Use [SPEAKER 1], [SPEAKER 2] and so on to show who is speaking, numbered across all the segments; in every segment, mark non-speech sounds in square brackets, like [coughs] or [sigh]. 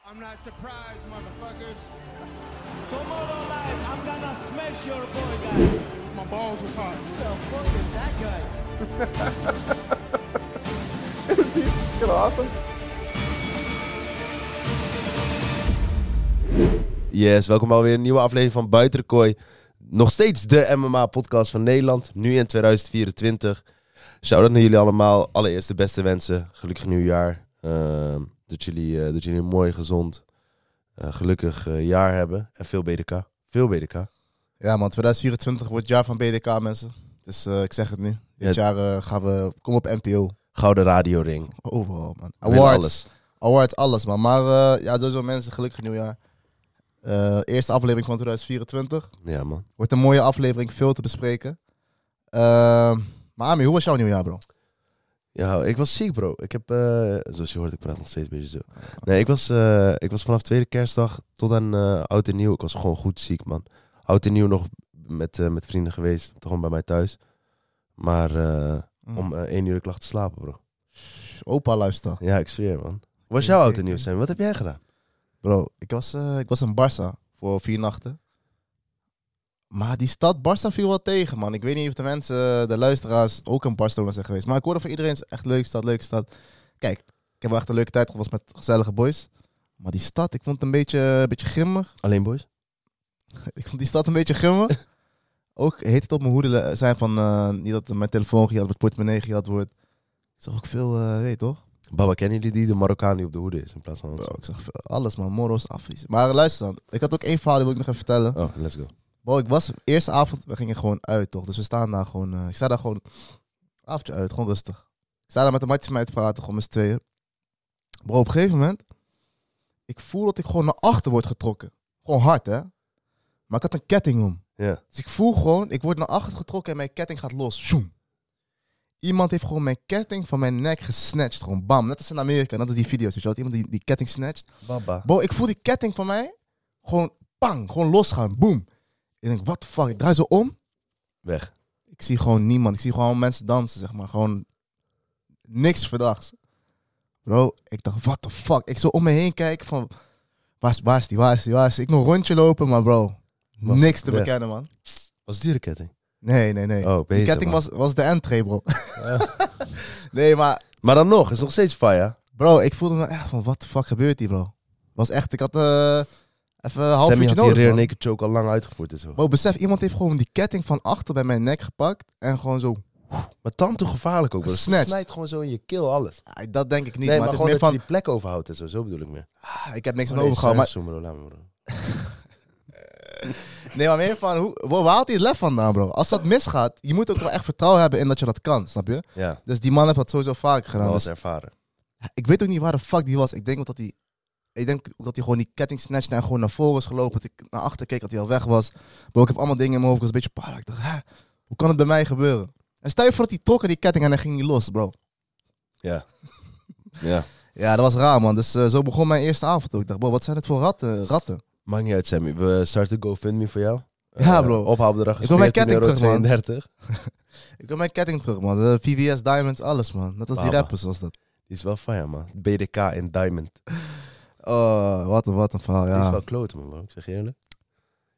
[SPEAKER 1] I'm not surprised, motherfuckers.
[SPEAKER 2] Tomorrow night, I'm gonna smash your boy, guys.
[SPEAKER 1] My balls was hot.
[SPEAKER 2] Who the fuck is that guy?
[SPEAKER 3] Is he fucking awesome?
[SPEAKER 4] Yes, welkom bij alweer een nieuwe aflevering van Buiten de Kooi. Nog steeds de MMA-podcast van Nederland, nu in 2024. Shout-out naar jullie allemaal. Allereerst de beste wensen. Gelukkig nieuwjaar. Ehm, dat, jullie, eh, dat jullie een mooi, gezond, eh, gelukkig eh, jaar hebben. En veel BDK. Veel BDK.
[SPEAKER 5] Ja man, 2024 wordt het jaar van BDK mensen. Dus eh, ik zeg het nu. Dit
[SPEAKER 4] Ja.
[SPEAKER 5] jaar eh, gaan we, kom op NPO.
[SPEAKER 4] Gouden radioring.
[SPEAKER 5] Overal man.
[SPEAKER 4] Win
[SPEAKER 5] Awards.
[SPEAKER 4] alles.
[SPEAKER 5] Awards, alles man. Maar eh, ja, sowieso mensen, gelukkig nieuwjaar. Eh, eerste aflevering van 2024.
[SPEAKER 4] Ja, man.
[SPEAKER 5] Wordt een mooie aflevering, veel te bespreken. Ehm, maar Ami, hoe was jouw nieuwjaar bro?
[SPEAKER 4] Ja, ik was ziek, bro. Ik heb, eh, zoals je hoort, ik praat nog steeds een beetje zo. Nee, ik was, eh, ik was vanaf tweede kerstdag tot aan eh, oud en nieuw. Ik was gewoon goed ziek, man. Oud en nieuw nog met, eh, met vrienden geweest, gewoon bij mij thuis. Maar eh, om eh, één uur ik lag te slapen, bro.
[SPEAKER 5] Mm. Opa luister.
[SPEAKER 4] Ja, ik zweer, man. Hoe was
[SPEAKER 5] Oké,
[SPEAKER 4] jouw
[SPEAKER 5] oké,
[SPEAKER 4] oud en nieuw,
[SPEAKER 5] oké.
[SPEAKER 4] Sam? Wat heb jij gedaan?
[SPEAKER 5] Bro, ik was, eh, ik was in Barça voor vier nachten. Maar die stad Barça viel wel tegen, man. Ik weet niet of de mensen, eh, de luisteraars, ook in Barcelona zijn geweest. Maar ik hoorde van iedereen, het is echt leuke stad, leuke stad. Kijk, ik heb wel echt een leuke tijd gehad met gezellige boys. Maar die stad, ik vond het een beetje, eh, een beetje grimmig. [laughs]
[SPEAKER 4] Alleen boys?
[SPEAKER 5] Ik vond die stad een beetje grimmig. Ook heet het op mijn hoede le- zijn van, eh, niet dat er mijn telefoon gejat wordt, portemonnee gejat wordt. Ik zag ook veel, eh, weet je toch?
[SPEAKER 4] Baba, kennen jullie die? De Marokkaan die op de hoede is in plaats van ons.
[SPEAKER 5] Bro, ik zag veel- alles, man. Moros, Afri's. Maar luister dan, ik had ook één verhaal, die wil ik nog even vertellen.
[SPEAKER 4] Oh, let's go.
[SPEAKER 5] Bro, ik was eerste avond, we gingen gewoon uit, toch? Dus we staan daar gewoon, eh, ik sta daar gewoon avondje uit, gewoon rustig. Ik sta daar met de matjes van mij te praten, gewoon met z'n tweeën. Bro, op een gegeven moment, ik voel dat ik gewoon naar achter word getrokken. Gewoon hard, hè? Maar ik had een ketting om.
[SPEAKER 4] Ja.
[SPEAKER 5] Dus ik voel gewoon, ik word naar achter getrokken en mijn ketting gaat los. Zoem. Iemand heeft gewoon mijn ketting van mijn nek gesnatcht. Gewoon bam. Net als in Amerika, net als die video's, weet je wel. Iemand die, die ketting snatcht.
[SPEAKER 4] Baba.
[SPEAKER 5] Bro, ik voel die ketting van mij gewoon pang, gewoon losgaan, boom. Ik denk, what the fuck, ik draai zo om.
[SPEAKER 4] Weg.
[SPEAKER 5] Ik zie gewoon niemand, ik zie gewoon mensen dansen, zeg maar. Gewoon niks verdachts. Bro, ik dacht, what the fuck. Ik zo om me heen kijken van, waar is, waar is die, waar is die, waar is die? Ik nog een rondje lopen, maar bro,
[SPEAKER 4] Was-
[SPEAKER 5] niks te
[SPEAKER 4] ja.
[SPEAKER 5] bekennen, man.
[SPEAKER 4] Was dure ketting.
[SPEAKER 5] Nee, nee, nee.
[SPEAKER 4] Oh,
[SPEAKER 5] die
[SPEAKER 4] beter,
[SPEAKER 5] ketting
[SPEAKER 4] man.
[SPEAKER 5] was, was de entree, bro. [laughs] nee, maar
[SPEAKER 4] Maar dan nog, is nog steeds fire.
[SPEAKER 5] bro, ik voelde me echt van, what the fuck gebeurt hier, bro? Was echt, ik had eh, even een
[SPEAKER 4] Sammy
[SPEAKER 5] half uurtje
[SPEAKER 4] had die
[SPEAKER 5] nodig,
[SPEAKER 4] rear
[SPEAKER 5] man.
[SPEAKER 4] naked choke al lang uitgevoerd en zo.
[SPEAKER 5] Bro, besef, iemand heeft gewoon die ketting van achter bij mijn nek gepakt. En gewoon zo.
[SPEAKER 4] Maar tanden gevaarlijk ook, bro. Het
[SPEAKER 5] Gesnatcht.
[SPEAKER 4] snijdt gewoon zo in je keel alles.
[SPEAKER 5] Ah, Dat denk ik niet.
[SPEAKER 4] nee,
[SPEAKER 5] maar,
[SPEAKER 4] maar,
[SPEAKER 5] het is
[SPEAKER 4] gewoon
[SPEAKER 5] meer
[SPEAKER 4] dat Oh,
[SPEAKER 5] van.
[SPEAKER 4] je die plek overhoudt en zo. Zo bedoel ik meer.
[SPEAKER 5] ah, ik heb niks aan
[SPEAKER 4] Nee,
[SPEAKER 5] overgehouden.
[SPEAKER 4] sorry, sorry, bro, laat me, bro.
[SPEAKER 5] Maar, nee, maar meer van. Hoe, waar waar haalt hij het lef vandaan, bro? Als dat misgaat, je moet ook wel echt vertrouwen hebben in dat je dat kan, snap je?
[SPEAKER 4] Ja,
[SPEAKER 5] Dus die man heeft dat sowieso vaker gedaan.
[SPEAKER 4] wel
[SPEAKER 5] Dus
[SPEAKER 4] eens ervaren.
[SPEAKER 5] ik weet ook niet waar de fuck die was. Ik denk ook dat hij. Ik denk ook dat hij gewoon die ketting snatchte en gewoon naar voren is gelopen. Dat ik naar achter keek, dat hij al weg was. Bro, ik heb allemaal dingen in mijn hoofd. Ik was een beetje paard. Ik dacht, hè, hoe kan het bij mij gebeuren? En stel je voor dat hij trok aan die ketting en dan ging hij los, bro.
[SPEAKER 4] Ja. ja.
[SPEAKER 5] Ja, dat was raar, man. Dus eh, zo begon mijn eerste avond ook. Ik dacht, bro, wat zijn het voor ratten? ratten?
[SPEAKER 4] Maakt niet uit, Sammy. We starten GoFundMe voor jou.
[SPEAKER 5] Ja,
[SPEAKER 4] Eh,
[SPEAKER 5] bro.
[SPEAKER 4] Ophaalbedrag is
[SPEAKER 5] Ik wil mijn ketting
[SPEAKER 4] 32.
[SPEAKER 5] Ik wil mijn ketting terug, man. Eh, VVS, Diamonds, alles, man. Net als die
[SPEAKER 4] Baba.
[SPEAKER 5] rappers was dat.
[SPEAKER 4] Die is wel fire, man. BDK en Diamond.
[SPEAKER 5] Oh, wat een, wat een verhaal,
[SPEAKER 4] Die is
[SPEAKER 5] ja.
[SPEAKER 4] wel kloten, man, bro. Ik zeg je eerlijk.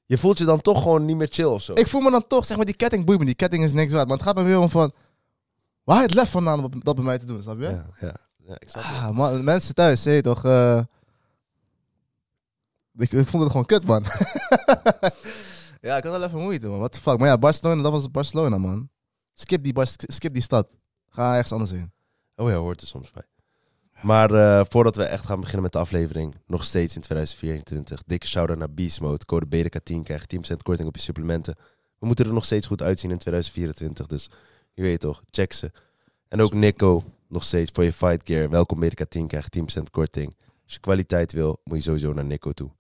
[SPEAKER 4] Je voelt je dan toch gewoon niet meer chill of zo.
[SPEAKER 5] Ik voel me dan toch, zeg maar, die ketting boeit me. Die ketting is niks waard. Maar het gaat me weer om van... Waar het lef vandaan om dat bij mij te doen, snap je?
[SPEAKER 4] ja, ja. ja, ik snap het.
[SPEAKER 5] Ah, man, mensen thuis, hé, toch... eh, ik, ik vond het gewoon kut, man. [laughs] ja, ik had wel even moeite, man. What the fuck. Maar ja, Barcelona, dat was Barcelona, man. Skip die, Bar- skip die stad. Ga ergens anders heen.
[SPEAKER 4] Oh ja, hoort er soms bij. Maar eh, voordat we echt gaan beginnen met de aflevering, nog steeds in 2024, dikke shout-out naar Beast Mode. Code BDK10 krijg je 10% korting op je supplementen. We moeten er nog steeds goed uitzien in 2024, dus je weet toch, check ze. En ook Nico, nog steeds voor je fight gear. Welkom BDK10 krijg je 10% korting. Als je kwaliteit wil, moet je sowieso naar Nico toe.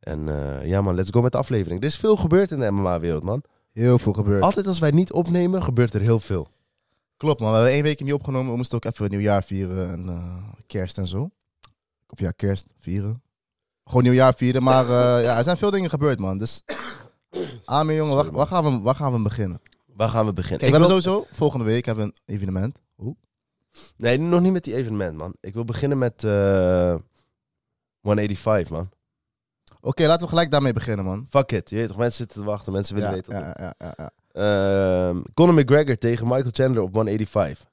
[SPEAKER 4] En eh, ja man, let's go met de aflevering. Er is veel gebeurd in de MMA-wereld man.
[SPEAKER 5] Heel veel gebeurd.
[SPEAKER 4] Altijd als wij niet opnemen, gebeurt er heel veel.
[SPEAKER 5] Klopt man, we hebben één week niet opgenomen. We moesten ook even nieuwjaar vieren en eh, kerst en zo. Of ja, kerst vieren. Gewoon nieuwjaar vieren, maar
[SPEAKER 4] [laughs]
[SPEAKER 5] eh, ja, er zijn veel dingen gebeurd man. Dus [coughs] Amir jongen,
[SPEAKER 4] Sorry,
[SPEAKER 5] waar, waar, gaan we, waar gaan we beginnen? Kijk,
[SPEAKER 4] Waar gaan we beginnen?
[SPEAKER 5] we
[SPEAKER 4] Ik
[SPEAKER 5] hebben
[SPEAKER 4] wil-
[SPEAKER 5] sowieso volgende week hebben we een evenement. Oeh.
[SPEAKER 4] Nee, nog niet met die evenement, man. Ik wil beginnen met eh, 185, man.
[SPEAKER 5] Oké, laten we gelijk daarmee beginnen, man.
[SPEAKER 4] Fuck it. Je weet toch, mensen zitten te wachten. Mensen willen
[SPEAKER 5] ja,
[SPEAKER 4] weten.
[SPEAKER 5] ja, ja, ja, ja.
[SPEAKER 4] Ehm, Conor McGregor tegen Michael Chandler op 185.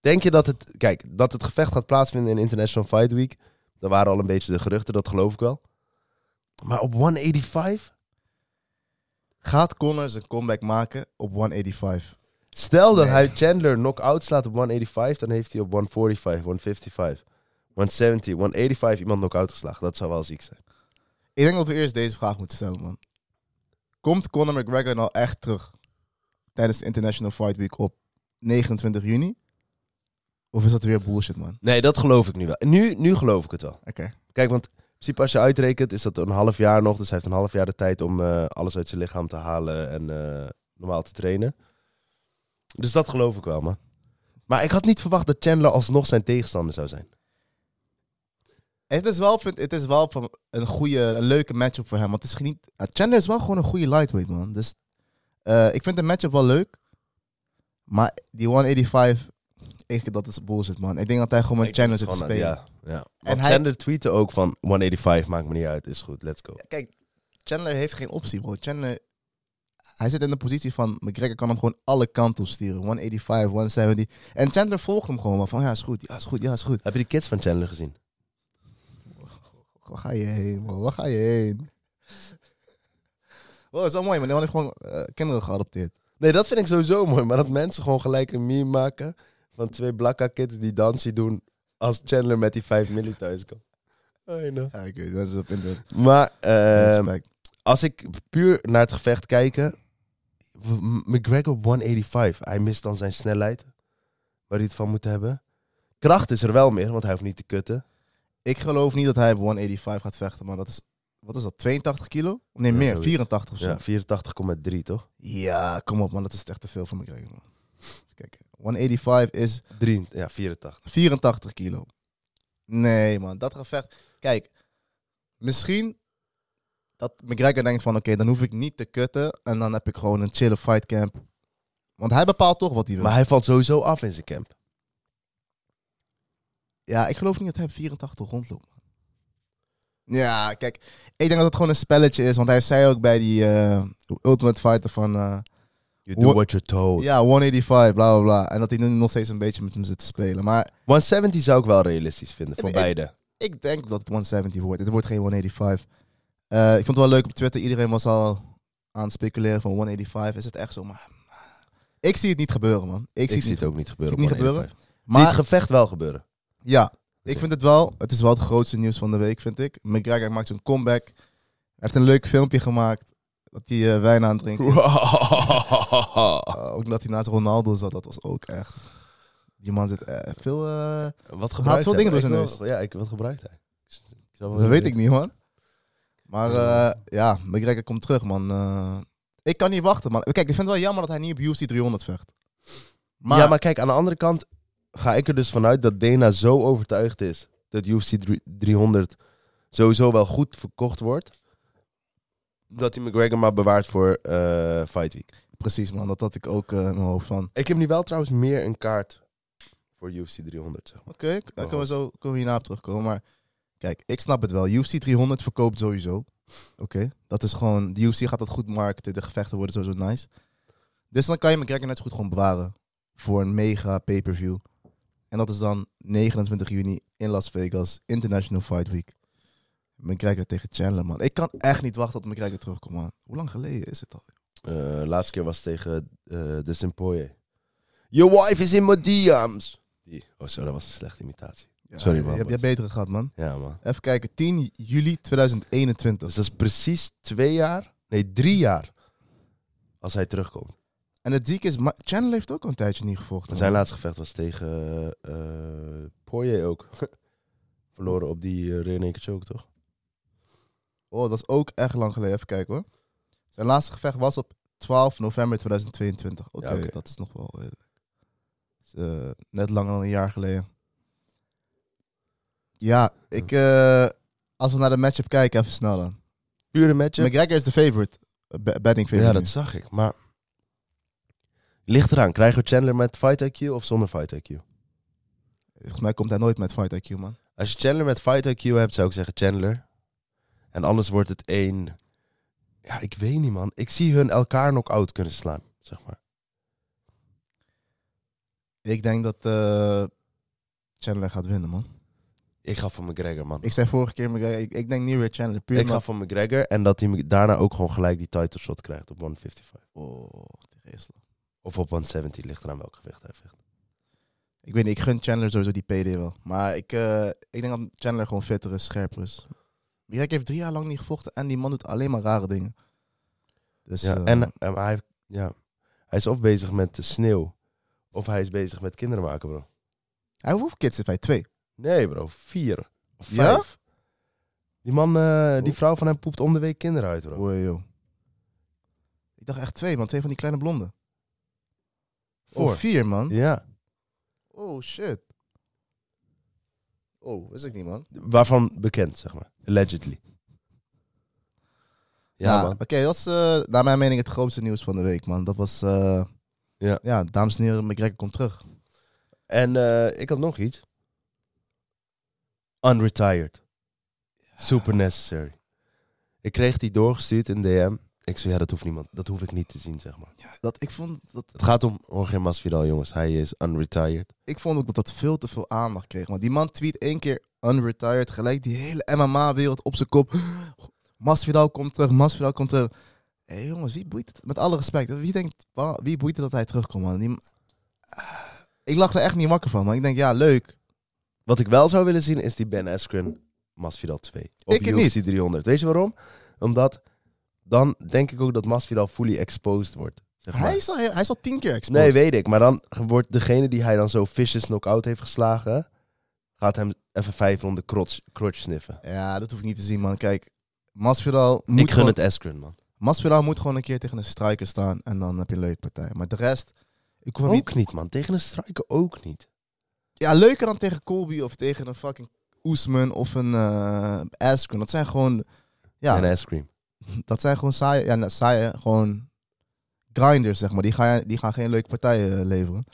[SPEAKER 4] Denk je dat het... Kijk, dat het gevecht gaat plaatsvinden in International Fight Week... Daar waren al een beetje de geruchten, dat geloof ik wel. Maar op 185?
[SPEAKER 5] Gaat Connor zijn comeback maken op 185?
[SPEAKER 4] Stel dat
[SPEAKER 5] Nee.
[SPEAKER 4] hij Chandler knock-out slaat op 185... dan heeft hij op 145, 155, 170, 185 iemand knock-out geslagen. Dat zou wel ziek zijn.
[SPEAKER 5] Ik denk dat we eerst deze vraag moeten stellen, man. Komt Conor McGregor nou echt terug tijdens de International Fight Week op 29 juni? Of is dat weer bullshit, man?
[SPEAKER 4] Nee, dat geloof ik nu wel. Nu, nu geloof ik het wel.
[SPEAKER 5] Oké.
[SPEAKER 4] Kijk, want in principe als je uitrekent is dat een half jaar nog. Dus hij heeft een half jaar de tijd om eh, alles uit zijn lichaam te halen en eh, normaal te trainen. Dus dat geloof ik wel, man. Maar ik had niet verwacht dat Chandler alsnog zijn tegenstander zou zijn.
[SPEAKER 5] Het is wel, vind- het is wel van een goede, een leuke matchup voor hem. Want het is niet, eh, Chandler is wel gewoon een goede lightweight, man. Dus eh, ik vind de matchup wel leuk. Maar die 185, ik, dat is bullshit, man. Ik denk dat hij gewoon met
[SPEAKER 4] Ik
[SPEAKER 5] Chandler
[SPEAKER 4] denk
[SPEAKER 5] zit te
[SPEAKER 4] dat
[SPEAKER 5] spelen.
[SPEAKER 4] het gewoon- eh, Ja, ja. Want
[SPEAKER 5] En hij-
[SPEAKER 4] Chandler tweette ook van 185, maakt me niet uit, is goed, let's go.
[SPEAKER 5] Kijk, Chandler heeft geen optie, bro. Chandler, hij zit in de positie van McGregor kan hem gewoon alle kanten op sturen. 185, 170. En Chandler volgt hem gewoon wel van ja, is goed, ja, is goed, ja, is goed.
[SPEAKER 4] Heb je die kids van Chandler gezien?
[SPEAKER 5] Waar ga je heen, man? Waar ga je heen? Wow, dat is wel mooi, man. Die man heeft gewoon eh, kinderen geadopteerd.
[SPEAKER 4] Nee, dat vind ik sowieso mooi. Maar dat mensen gewoon gelijk een meme maken van twee blakka kids die dansie doen als Chandler met die 5 milli thuis komt. I know.
[SPEAKER 5] Ja, ik weet het. Dat is op internet.
[SPEAKER 4] Maar ehm,
[SPEAKER 5] Respect.
[SPEAKER 4] als ik puur naar het gevecht kijken, w- McGregor 185. Hij mist dan zijn snelheid, waar hij het van moet hebben. Kracht is er wel meer, want hij hoeft niet te kutten.
[SPEAKER 5] Ik geloof niet dat hij op 185 gaat vechten, maar dat is... Wat is dat, 82 kilo? Nee,
[SPEAKER 4] Ja,
[SPEAKER 5] meer,
[SPEAKER 4] zoiets.
[SPEAKER 5] 84 of zo.
[SPEAKER 4] Ja,
[SPEAKER 5] Ja.
[SPEAKER 4] 84,3 toch?
[SPEAKER 5] kom op man, dat is echt te veel voor McGregor, man. Even kijken. 185 is
[SPEAKER 4] Drie, ja, 84.
[SPEAKER 5] 84 kilo. Nee, man, dat gevecht. Kijk, misschien dat McGregor denkt van: oké, dan hoef ik niet te kutten. En dan heb ik gewoon een chille fight camp. Want hij bepaalt toch wat hij wil.
[SPEAKER 4] Maar hij valt sowieso af in zijn camp.
[SPEAKER 5] Ja, ik geloof niet dat hij op 84 rondloopt. man. Ja, kijk, ik denk dat het gewoon een spelletje is. Want hij zei ook bij die eh, Ultimate Fighter van. eh,
[SPEAKER 4] You do
[SPEAKER 5] Wha-
[SPEAKER 4] what you're told.
[SPEAKER 5] ja, 185, bla bla bla. En dat hij nu nog steeds een beetje met hem zit te spelen. Maar
[SPEAKER 4] 170 zou ik wel realistisch vinden, voor
[SPEAKER 5] Ik-
[SPEAKER 4] beide.
[SPEAKER 5] Ik denk dat het 170 wordt. Het wordt geen 185. Eh, ik vond het wel leuk op Twitter. Iedereen was al aan het speculeren van 185. Is het echt zo? Maar ik zie het niet gebeuren, man. Ik,
[SPEAKER 4] Ik,
[SPEAKER 5] zie het
[SPEAKER 4] zie
[SPEAKER 5] niet.
[SPEAKER 4] het ook niet gebeuren.
[SPEAKER 5] zie het
[SPEAKER 4] op
[SPEAKER 5] niet
[SPEAKER 4] 185.
[SPEAKER 5] Maar
[SPEAKER 4] Zie het gevecht wel gebeuren.
[SPEAKER 5] ja, ik vind het wel. Het is wel het grootste nieuws van de week, vind ik. McGregor maakt zijn comeback. Hij heeft een leuk filmpje gemaakt. Dat hij eh, wijn aan het drinken. is. Eh, ook dat hij naast Ronaldo zat. Dat was ook echt. Die man zit eh, veel. eh,
[SPEAKER 4] Wat
[SPEAKER 5] Haalt
[SPEAKER 4] gebruikt
[SPEAKER 5] veel
[SPEAKER 4] hij?
[SPEAKER 5] dingen door
[SPEAKER 4] Ik
[SPEAKER 5] zijn
[SPEAKER 4] wil-
[SPEAKER 5] neus.
[SPEAKER 4] Ja, ik, wat gebruikt hij? Ik zou wel
[SPEAKER 5] dat
[SPEAKER 4] willen
[SPEAKER 5] weet
[SPEAKER 4] weten.
[SPEAKER 5] ik niet, man. Maar eh, ja, McGregor komt terug, man. Eh, ik kan niet wachten, man. Kijk, ik vind het wel jammer dat hij niet op UFC 300 vecht. Maar,
[SPEAKER 4] Ja, maar kijk, aan de andere kant ga ik er dus vanuit dat Dana zo overtuigd is dat UFC drie- 300 sowieso wel goed verkocht wordt. Dat hij McGregor maar bewaart voor eh, Fight Week.
[SPEAKER 5] precies, man. Dat had ik ook eh, in mijn hoofd van.
[SPEAKER 4] Ik heb nu wel trouwens meer een kaart voor UFC 300, zeg maar.
[SPEAKER 5] Oké, daar kunnen we zo kunnen we hierna op terugkomen. Maar kijk, ik snap het wel. UFC 300 verkoopt sowieso. Oké, dat is gewoon... De UFC gaat dat goed marketen. De gevechten worden sowieso nice. Dus dan kan je McGregor net zo goed gewoon bewaren. Voor een mega pay-per-view. En dat is dan 29 juni in Las Vegas. International Fight Week. McGregor tegen Chandler, man. Ik kan echt niet wachten tot McGregor terugkomt, man. Hoe lang geleden is het al?
[SPEAKER 4] Eh, laatste keer was het tegen eh de Simpoye. Your wife is in my DM's. Die. Oh, zo, dat was een slechte imitatie.
[SPEAKER 5] Ja,
[SPEAKER 4] Sorry, man.
[SPEAKER 5] Je hebt je hebt betere gehad, man.
[SPEAKER 4] Ja, man.
[SPEAKER 5] Even kijken. 10 juli 2021.
[SPEAKER 4] Dus dat is precies twee jaar, nee, drie jaar als hij terugkomt.
[SPEAKER 5] En het ziek is, Ma- Chandler heeft ook al een tijdje niet gevochten.
[SPEAKER 4] Maar zijn
[SPEAKER 5] man.
[SPEAKER 4] laatste gevecht was tegen eh, eh, Poirier ook. [laughs] Verloren op die uh, rear naked choke, toch?
[SPEAKER 5] Oh, dat is ook echt lang geleden. Even kijken hoor. Zijn laatste gevecht was op 12 november 2022. Oké,
[SPEAKER 4] Ja, oké.
[SPEAKER 5] dat is nog wel redelijk. Dus, eh, net langer dan een jaar geleden. Ja, ik, eh, als we naar de matchup kijken, even snel dan.
[SPEAKER 4] Pure matchup.
[SPEAKER 5] McGregor is de favorite. Eh, be- betting favorite.
[SPEAKER 4] Ja, dat zag ik. Maar ligt eraan. Krijgen we Chandler met fight IQ of zonder fight IQ?
[SPEAKER 5] Volgens mij komt hij nooit met Fight IQ, man.
[SPEAKER 4] Als je Chandler met Fight IQ hebt, zou ik zeggen Chandler. En anders wordt het één... Ja, ik weet niet, man. Ik zie hun elkaar knock-out kunnen slaan, zeg maar.
[SPEAKER 5] Ik denk dat eh, Chandler gaat winnen, man.
[SPEAKER 4] Ik ga voor McGregor, man.
[SPEAKER 5] Ik zei vorige keer, McGregor, ik, ik denk niet weer Chandler. Puur
[SPEAKER 4] Ik ga
[SPEAKER 5] omdat-
[SPEAKER 4] voor McGregor en dat hij daarna ook gewoon gelijk die title shot krijgt op 155.
[SPEAKER 5] Oh, die geestel.
[SPEAKER 4] Of op 170, ligt eraan welk gewicht hij vecht.
[SPEAKER 5] Ik weet niet, ik gun Chandler sowieso die PD wel. Maar ik, eh, ik denk dat Chandler gewoon fitter is, scherper is. Mirek heeft drie jaar lang niet gevochten en die man doet alleen maar rare dingen. Dus,
[SPEAKER 4] Ja,
[SPEAKER 5] eh,
[SPEAKER 4] en eh, maar hij, ja, hij is of bezig met de sneeuw, of hij is bezig met kinderen maken, bro.
[SPEAKER 5] hij hoeft kids heeft hij twee.
[SPEAKER 4] Nee, bro, vier of
[SPEAKER 5] Ja? Oh.
[SPEAKER 4] vijf. Die man, eh, die vrouw van hem poept om de week kinderen uit, bro.
[SPEAKER 5] Oei, joh. Ik dacht echt twee, man. Twee van die kleine blonden.
[SPEAKER 4] Four.
[SPEAKER 5] Oh, vier, man.
[SPEAKER 4] Ja,
[SPEAKER 5] Oh, shit. Oh, wist ik niet, man.
[SPEAKER 4] waarvan bekend, zeg maar. Allegedly. Ja,
[SPEAKER 5] Nou,
[SPEAKER 4] man.
[SPEAKER 5] Oké, dat is eh, naar mijn mening het grootste nieuws van de week, man. Dat was... eh,
[SPEAKER 4] Ja.
[SPEAKER 5] ja, dames en heren, McGregor komt terug.
[SPEAKER 4] En eh, ik had nog iets. Unretired. Super necessary. Ik kreeg die doorgestuurd in DM. Ik zei, ja, dat hoeft niemand. Dat hoef ik niet te zien, zeg maar.
[SPEAKER 5] Ja, dat, ik, vond dat,
[SPEAKER 4] Het gaat om Jorge Masvidal, jongens. Hij is unretired.
[SPEAKER 5] ik vond ook dat dat veel te veel aandacht kreeg. Want die man tweet één keer unretired, gelijk die hele MMA-wereld op zijn kop. Masvidal komt terug, Masvidal komt terug. Hé jongens, wie boeit het? Met alle respect, wie denkt, wa- wie boeit het dat hij terugkomt, man? Die, Ah, ik lag er echt niet wakker van, man. Ik denk, ja, leuk.
[SPEAKER 4] Wat ik wel zou willen zien, is die Ben Askren Masvidal 2. Op
[SPEAKER 5] Ik het
[SPEAKER 4] UFC
[SPEAKER 5] niet.
[SPEAKER 4] 300. Weet je waarom? Omdat dan denk ik ook dat Masvidal fully exposed wordt. Zeg maar.
[SPEAKER 5] Hij is al, hij is al tien keer exposed.
[SPEAKER 4] Nee, weet ik. Maar dan wordt degene die hij dan zo vicious knock-out heeft geslagen... gaat hem even vijf ronden crotch, crotch sniffen.
[SPEAKER 5] Ja, dat hoef ik niet te zien, man. Kijk, Masvidal moet,
[SPEAKER 4] ik gun
[SPEAKER 5] gewoon,
[SPEAKER 4] het Askren, man.
[SPEAKER 5] Masvidal moet gewoon een keer tegen een striker staan. En dan heb je een leuke partij. Maar de rest, ik kwam niet
[SPEAKER 4] Ook niet, man. Tegen een striker ook niet.
[SPEAKER 5] Ja, leuker dan tegen Colby of tegen een fucking Oesman of een eh Askren. Dat zijn gewoon... Ja,
[SPEAKER 4] En Askren.
[SPEAKER 5] dat zijn gewoon saaie... Ja, nou, saaie gewoon grinders, zeg maar. Die gaan, die gaan geen leuke partijen eh, leveren.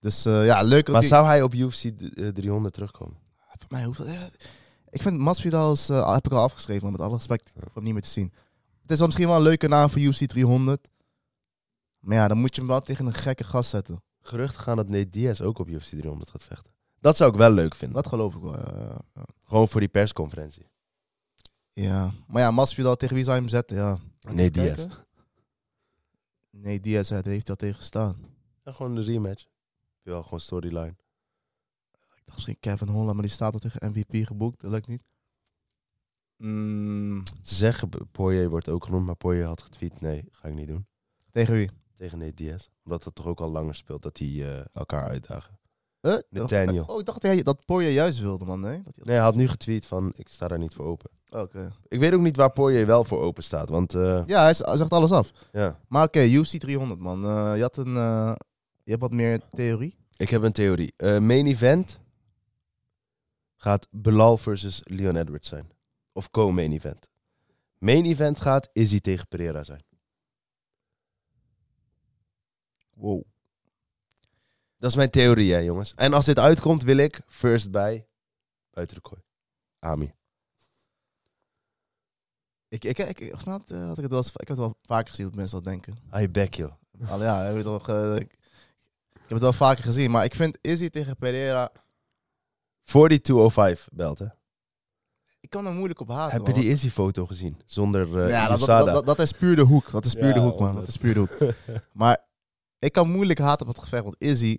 [SPEAKER 5] Dus eh, ja, leuk dat
[SPEAKER 4] Maar
[SPEAKER 5] die-
[SPEAKER 4] zou hij op UFC d- eh, 300 terugkomen?
[SPEAKER 5] Voor mij hoeft dat... eh, Ik vind Masvidal is... eh, heb ik al afgeschreven, maar met alle respect. Ik
[SPEAKER 4] Ja.
[SPEAKER 5] hoef hem niet meer te zien. Het is wel misschien wel een leuke naam voor UFC 300. Maar ja, dan moet je hem wel tegen een gekke gast zetten.
[SPEAKER 4] Geruchten gaan dat Nate Diaz ook op UFC 300 gaat vechten. Dat zou ik wel leuk vinden.
[SPEAKER 5] Dat geloof ik wel. eh, ja.
[SPEAKER 4] Gewoon voor die persconferentie.
[SPEAKER 5] ja. Maar ja, Masvidal, tegen wie zou je hem zetten? Ja.
[SPEAKER 4] Nate Diaz.
[SPEAKER 5] Kijken. Nee, Diaz hij heeft dat tegenstaan.
[SPEAKER 4] Ja, gewoon een rematch. Ja, gewoon storyline.
[SPEAKER 5] Ik dacht misschien Kevin Holland, maar die staat al tegen MVP geboekt. Dat lukt niet. Mm,
[SPEAKER 4] Ze zeggen, B- Poirier wordt ook genoemd, maar Poirier had getweet. Nee, ga ik niet doen.
[SPEAKER 5] tegen wie?
[SPEAKER 4] Tegen Nate Diaz. Omdat dat toch ook al langer speelt, dat die eh, elkaar uitdagen.
[SPEAKER 5] Eh,
[SPEAKER 4] Nathaniel.
[SPEAKER 5] Oh, ik dacht dat hij- dat Poirier juist wilde, man. Nee? Dat hij-
[SPEAKER 4] Nee, hij had nu getweet van, ik sta daar niet voor open.
[SPEAKER 5] Oké.
[SPEAKER 4] Ik weet ook niet waar Poirier wel voor open staat, want... eh,
[SPEAKER 5] Ja, hij, z- hij zegt alles af.
[SPEAKER 4] ja.
[SPEAKER 5] Maar oké, UFC 300, man. Eh, je had een... eh, je hebt wat meer theorie.
[SPEAKER 4] Ik heb een theorie. Eh, main event gaat Belal versus Leon Edwards zijn. Of co-main event. Main event gaat Izzy tegen Pereira zijn.
[SPEAKER 5] Wow.
[SPEAKER 4] Dat is mijn theorie, hè, jongens. En als dit uitkomt, wil ik first bij buiten de kooi. Ami.
[SPEAKER 5] Ik, ik, ik, ik- vanavond, eh, had ik, het wel eens, ik heb het wel vaker gezien dat mensen dat denken.
[SPEAKER 4] I back, joh.
[SPEAKER 5] Al ja, heb je toch, eh, ik, ik heb het wel vaker gezien. Maar ik vind Izzy tegen Pereira...
[SPEAKER 4] Voor die 205 belt, hè.
[SPEAKER 5] Ik kan er moeilijk op haten,
[SPEAKER 4] Heb
[SPEAKER 5] man.
[SPEAKER 4] je die Izzy-foto gezien? Zonder eh
[SPEAKER 5] ja, dat,
[SPEAKER 4] Usada.
[SPEAKER 5] dat, dat, dat is puur de hoek. Dat is puur
[SPEAKER 4] Ja,
[SPEAKER 5] de hoek, man. Dat
[SPEAKER 4] honderd.
[SPEAKER 5] is puur de hoek. maar ik kan moeilijk haten op het gevecht, want Izzy...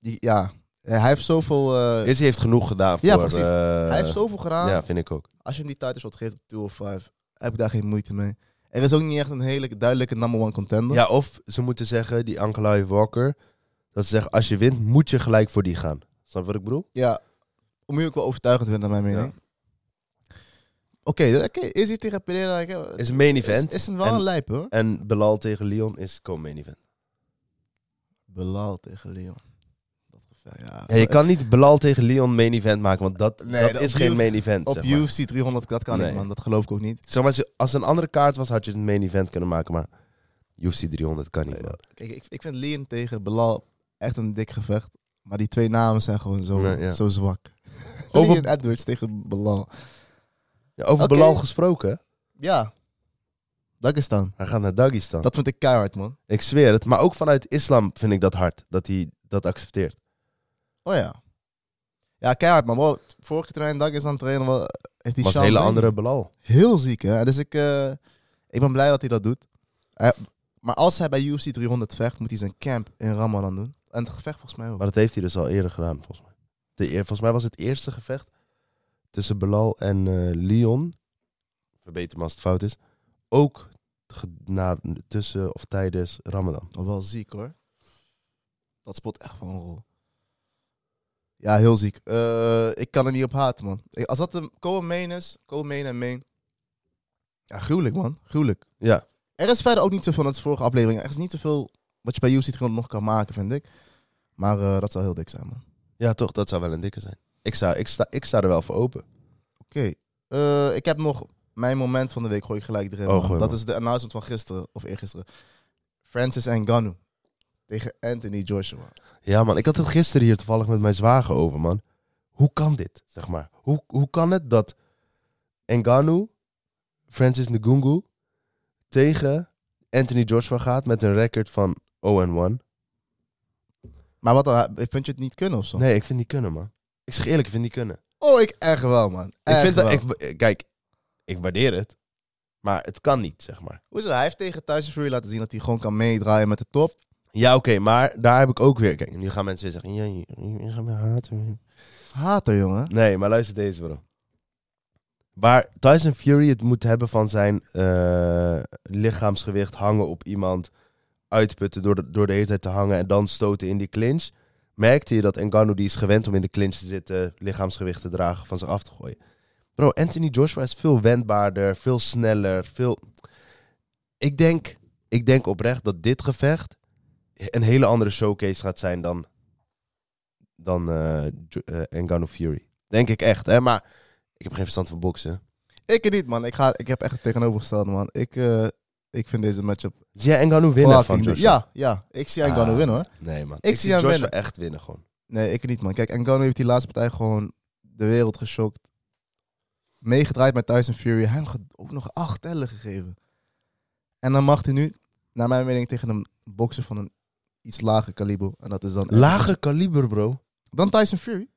[SPEAKER 5] Die, ja, eh, hij heeft zoveel... eh,
[SPEAKER 4] Izzy heeft genoeg gedaan voor...
[SPEAKER 5] Ja, precies.
[SPEAKER 4] eh,
[SPEAKER 5] hij heeft zoveel gedaan.
[SPEAKER 4] Ja, vind ik ook.
[SPEAKER 5] Als je hem die title shot geeft op 2 of 5, heb ik daar geen moeite mee. Er is ook niet echt een hele duidelijke number one contender.
[SPEAKER 4] Ja, of ze moeten zeggen, die Ankelai Walker... Dat ze zeggen, als je wint, moet je gelijk voor die gaan. Snap je wat ik bedoel?
[SPEAKER 5] ja om je ook wel overtuigend te naar mijn mening. Oké, oké, Izzy tegen Pereira... ik heb-
[SPEAKER 4] Is een main
[SPEAKER 5] is,
[SPEAKER 4] event.
[SPEAKER 5] is een wel
[SPEAKER 4] En-
[SPEAKER 5] een lijp, hoor.
[SPEAKER 4] En Belal tegen Leon is co-main event.
[SPEAKER 5] Belal tegen Leon. Dat gevecht, ja.
[SPEAKER 4] Ja, je kan niet Belal tegen Leon main event maken, want dat,
[SPEAKER 5] Nee,
[SPEAKER 4] dat
[SPEAKER 5] dat
[SPEAKER 4] is
[SPEAKER 5] op
[SPEAKER 4] geen
[SPEAKER 5] U-
[SPEAKER 4] main event.
[SPEAKER 5] Op
[SPEAKER 4] zeg maar.
[SPEAKER 5] UFC 300, dat kan
[SPEAKER 4] Nee.
[SPEAKER 5] niet, man. Dat geloof ik ook niet.
[SPEAKER 4] Zeg maar, als je- als het een andere kaart was, had je het main event kunnen maken, maar UFC 300 kan niet,
[SPEAKER 5] Ja.
[SPEAKER 4] man.
[SPEAKER 5] Kijk, ik, ik vind Leon tegen Belal echt een dik gevecht. Maar die twee namen zijn gewoon zo,
[SPEAKER 4] Nee, ja.
[SPEAKER 5] zo zwak.
[SPEAKER 4] Over-
[SPEAKER 5] [laughs] Over... Edwards tegen Belal.
[SPEAKER 4] Ja, over
[SPEAKER 5] Oké.
[SPEAKER 4] Belal gesproken.
[SPEAKER 5] Ja. Dagestan.
[SPEAKER 4] Hij gaat naar Dagestan.
[SPEAKER 5] Dat vond ik keihard, man.
[SPEAKER 4] Ik zweer het. Maar ook vanuit islam vind ik dat hard. Dat hij dat accepteert.
[SPEAKER 5] Oh ja. Ja, keihard, man. Wow, vorige train, Dagestan trainen, wel, heeft
[SPEAKER 4] was
[SPEAKER 5] die
[SPEAKER 4] een
[SPEAKER 5] Sean
[SPEAKER 4] hele
[SPEAKER 5] Brady.
[SPEAKER 4] andere Belal.
[SPEAKER 5] Heel ziek, hè. Dus ik, eh, ik ben blij dat hij dat doet. Hij- maar als hij bij UFC 300 vecht, moet hij zijn camp in Ramadan doen. En het gevecht volgens mij ook.
[SPEAKER 4] Maar dat heeft hij dus al eerder gedaan, volgens mij. De eer, volgens mij was het eerste gevecht tussen Belal en eh, Leon. Verbeter me als het fout is. Ook ge- na, tussen of tijdens Ramadan.
[SPEAKER 5] Oh, wel ziek hoor. Dat spot echt wel een rol. Ja, heel ziek. Eh, ik kan er niet op haten, man. Ik- Als dat een co-main is, co-main en main. Ja, gruwelijk, man. Gruwelijk.
[SPEAKER 4] Ja.
[SPEAKER 5] Er is verder ook niet zoveel, dat is vorige aflevering. Er is niet zoveel wat je bij UFC 300 nog kan maken, vind ik. Maar eh, dat zou heel dik zijn, man.
[SPEAKER 4] ja, toch, dat zou wel een dikke zijn. Ik, zou, ik, sta, ik sta er wel voor open.
[SPEAKER 5] Oké. Eh, ik heb nog mijn moment van de week. Gooi ik gelijk erin.
[SPEAKER 4] Oh,
[SPEAKER 5] man.
[SPEAKER 4] gooi
[SPEAKER 5] dat
[SPEAKER 4] maar.
[SPEAKER 5] is de announcement van gisteren, of eergisteren. Francis Ngannou tegen Anthony Joshua.
[SPEAKER 4] Ja, man, ik had het gisteren hier toevallig met mijn zwager over, man. Hoe kan dit, zeg maar? Hoe, hoe kan het dat Ngannou, Francis Ngungu, tegen Anthony Joshua gaat met een record van 0-1?
[SPEAKER 5] Maar wat, dan- vind je het niet kunnen of zo?
[SPEAKER 4] Nee, ik vind niet kunnen, man. Ik zeg eerlijk, ik vind niet kunnen.
[SPEAKER 5] Oh, ik echt wel, man.
[SPEAKER 4] Ik
[SPEAKER 5] Echt
[SPEAKER 4] vind dat,
[SPEAKER 5] wel.
[SPEAKER 4] ik, eh, kijk, ik waardeer het, maar het kan niet, zeg maar.
[SPEAKER 5] Hoezo? Hij heeft tegen Tyson Fury laten zien dat hij gewoon kan meedraaien met de top.
[SPEAKER 4] Ja, oké, maar daar heb ik ook weer... Kijk, nu gaan mensen weer zeggen... Ja, je, je, je gaat me haten.
[SPEAKER 5] Hater, jongen.
[SPEAKER 4] Nee, maar luister deze bro. Waar Tyson Fury het moet hebben van zijn eh, lichaamsgewicht hangen op iemand, uitputten door de, door de hele tijd te hangen en dan stoten in die clinch, merkte je dat Ngannou die is gewend om in de clinch te zitten, lichaamsgewicht te dragen, van zich af te gooien. Bro, Anthony Joshua is veel wendbaarder, veel sneller, veel... Ik denk, ik denk oprecht dat dit gevecht een hele andere showcase gaat zijn dan, dan eh, Jo- eh, Ngannou Fury. Denk ik echt, hè? Maar ik heb geen verstand van boksen.
[SPEAKER 5] Ik er niet, man. Ik, ga, ik heb echt het tegenovergestelde, man. Ik, eh, ik vind deze matchup...
[SPEAKER 4] Zie jij Ngannou winnen van
[SPEAKER 5] fucking dik.
[SPEAKER 4] Joshua?
[SPEAKER 5] Ja, ja. Ik zie Ngannou winnen, hoor.
[SPEAKER 4] Nee, man.
[SPEAKER 5] Ik
[SPEAKER 4] Ik,
[SPEAKER 5] zie
[SPEAKER 4] zie
[SPEAKER 5] hem
[SPEAKER 4] Joshua
[SPEAKER 5] winnen.
[SPEAKER 4] echt winnen gewoon.
[SPEAKER 5] Nee, ik niet, man. Kijk, Ngannou heeft die laatste partij gewoon de wereld geschokt. Meegedraaid met Tyson Fury. Hij heeft ook nog acht tellen gegeven. En dan mag hij nu, naar mijn mening, tegen een bokser van een iets lager kaliber. En dat is dan...
[SPEAKER 4] Lager kaliber, bro.
[SPEAKER 5] Dan Tyson Fury.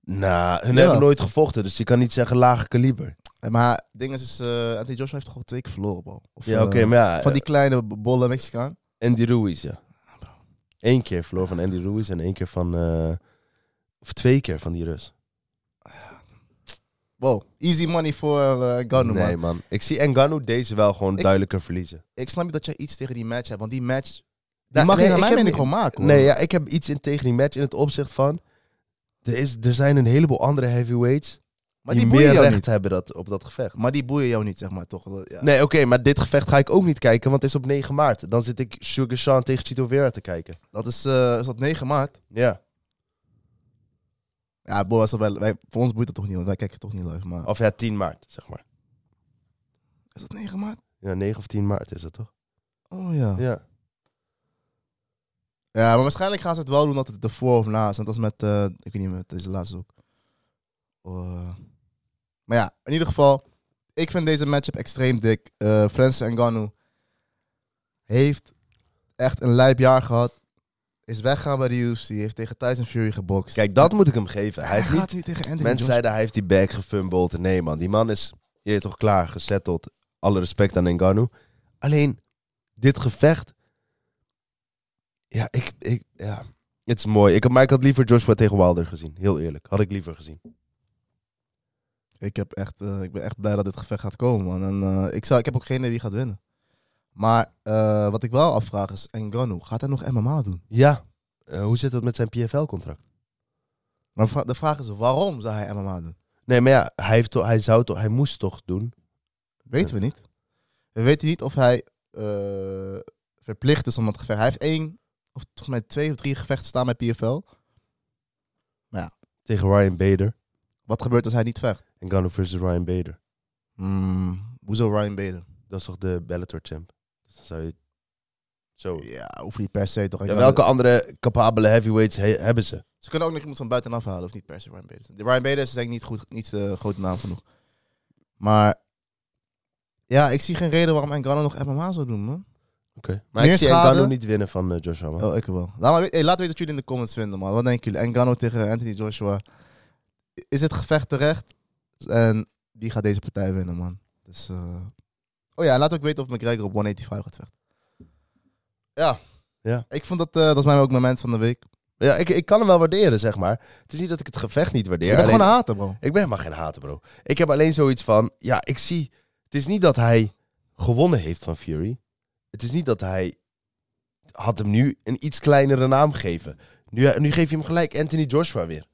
[SPEAKER 4] Nou, hun
[SPEAKER 5] Ja.
[SPEAKER 4] hebben nooit gevochten, dus je kan niet zeggen lager kaliber.
[SPEAKER 5] Eh, Maar ding is, is eh, Anthony Joshua heeft gewoon twee keer verloren, bro. Of,
[SPEAKER 4] Ja,
[SPEAKER 5] eh,
[SPEAKER 4] oké, maar ja.
[SPEAKER 5] Van die kleine b- bolle Mexicaan.
[SPEAKER 4] Andy Ruiz, ja. Ah, Eén keer verloor van Andy Ruiz en één keer van... eh, of twee keer van die Rus.
[SPEAKER 5] Wow, easy money voor eh Ngannou,
[SPEAKER 4] nee,
[SPEAKER 5] man.
[SPEAKER 4] man. Ik zie Ngannou deze wel gewoon
[SPEAKER 5] Ik-
[SPEAKER 4] duidelijker verliezen.
[SPEAKER 5] Ik snap niet dat jij iets tegen die match hebt, want die match... Die
[SPEAKER 4] Nou,
[SPEAKER 5] mag
[SPEAKER 4] nee,
[SPEAKER 5] je naar
[SPEAKER 4] ik
[SPEAKER 5] mijn
[SPEAKER 4] heb
[SPEAKER 5] mening
[SPEAKER 4] ni-
[SPEAKER 5] gewoon maken, hoor.
[SPEAKER 4] Nee, ja, ik heb iets in tegen die match in het opzicht van... Er, is, er zijn een heleboel andere heavyweights
[SPEAKER 5] maar
[SPEAKER 4] die,
[SPEAKER 5] die boeien
[SPEAKER 4] meer
[SPEAKER 5] jou
[SPEAKER 4] recht
[SPEAKER 5] niet.
[SPEAKER 4] hebben dat, op dat gevecht.
[SPEAKER 5] Maar die boeien jou niet, zeg maar, toch? Ja.
[SPEAKER 4] Nee, oké, maar dit gevecht ga ik ook niet kijken, want het is op 9 maart. Dan zit ik Sugar Sean tegen Chito Vera te kijken.
[SPEAKER 5] Dat is, eh, is dat 9 maart?
[SPEAKER 4] Ja,
[SPEAKER 5] Ja, boy, als dat wel- wij, voor ons boeit dat toch niet, want wij kijken toch niet live. Maar
[SPEAKER 4] of ja, 10 maart, zeg maar.
[SPEAKER 5] is dat 9 maart?
[SPEAKER 4] Ja, 9 of 10 maart is dat toch?
[SPEAKER 5] Oh ja. ja.
[SPEAKER 4] Ja.
[SPEAKER 5] maar waarschijnlijk gaan ze het wel doen dat het ervoor of na is. Want dat is met, eh, ik weet niet, met deze laatste ook. Eh, maar ja, in ieder geval, ik vind deze matchup extreem dik. Eh Francis Ngannou heeft echt een lijp jaar gehad. Is weggegaan bij de UFC, heeft tegen Tyson Fury gebokst.
[SPEAKER 4] Kijk, dat moet ik hem geven. Hij
[SPEAKER 5] hij
[SPEAKER 4] heeft niet...
[SPEAKER 5] gaat nu tegen Anthony
[SPEAKER 4] Mensen
[SPEAKER 5] Johnson.
[SPEAKER 4] zeiden hij heeft die bag gefumbled. Nee man, die man is je weet toch klaar, gezetteld. Alle respect aan Ngannou. Alleen, dit gevecht... Ja, ik... ik ja, het is mooi. Ik had, maar ik had liever Joshua tegen Wilder gezien. Heel eerlijk, had ik liever gezien.
[SPEAKER 5] Ik, heb echt, eh, ik ben echt blij dat dit gevecht gaat komen, man. En, eh, ik, zou, ik heb ook geen idee wie gaat winnen. Maar eh, wat ik wel afvraag is, Ngannou, gaat hij nog MMA doen?
[SPEAKER 4] Ja. Eh, hoe zit dat met zijn PFL-contract?
[SPEAKER 5] Maar vra- de vraag is, waarom zou hij MMA doen?
[SPEAKER 4] Nee, maar ja, hij, heeft toch, hij, zou toch, hij moest toch doen.
[SPEAKER 5] Weten we niet. We weten niet of hij eh, verplicht is om dat gevecht. Hij heeft één, of volgens mij twee of drie gevechten staan bij PFL.
[SPEAKER 4] Tegen Ryan Bader.
[SPEAKER 5] Wat gebeurt als hij niet vecht?
[SPEAKER 4] En Gano versus Ryan Bader.
[SPEAKER 5] Hmm, hoezo Ryan Bader?
[SPEAKER 4] Dat is toch de Bellator champ? Dus dan zou je Zo.
[SPEAKER 5] Ja, hoeft niet per se toch. Ik
[SPEAKER 4] Ja,
[SPEAKER 5] wou-
[SPEAKER 4] welke andere capabele heavyweights he- hebben ze?
[SPEAKER 5] Ze kunnen ook nog iemand van buitenaf halen, of niet per se Ryan Bader. De Ryan Bader is denk ik niet, goed, niet de grote naam genoeg. Maar ja, ik zie geen reden waarom Engano nog MMA zou doen, man.
[SPEAKER 4] Oké. Maar
[SPEAKER 5] Meer
[SPEAKER 4] ik zie
[SPEAKER 5] schade?
[SPEAKER 4] Engano niet winnen van eh, Joshua. man.
[SPEAKER 5] Oh, ik wel. Laat, maar, we- hey, laat weten wat jullie in de comments vinden, man. Wat denken jullie? Engano tegen Anthony Joshua. Is het gevecht terecht? En die gaat deze partij winnen, man. Dus, eh, Oh ja, en laat ook weten of McGregor op 185 gaat vechten. Ja.
[SPEAKER 4] Ja.
[SPEAKER 5] Ik vond dat, eh, dat is mij ook mijn moment van de week.
[SPEAKER 4] Ja, ik, ik kan hem wel waarderen, zeg maar. Het is niet dat ik het gevecht niet waardeer.
[SPEAKER 5] ik ben
[SPEAKER 4] alleen-
[SPEAKER 5] gewoon een hater, bro.
[SPEAKER 4] Ik ben helemaal geen hater, bro. Ik heb alleen zoiets van... Ja, ik zie... Het is niet dat hij gewonnen heeft van Fury. Het is niet dat hij... Had hem nu een iets kleinere naam gegeven. Nu, nu geef je hem gelijk Anthony Joshua weer.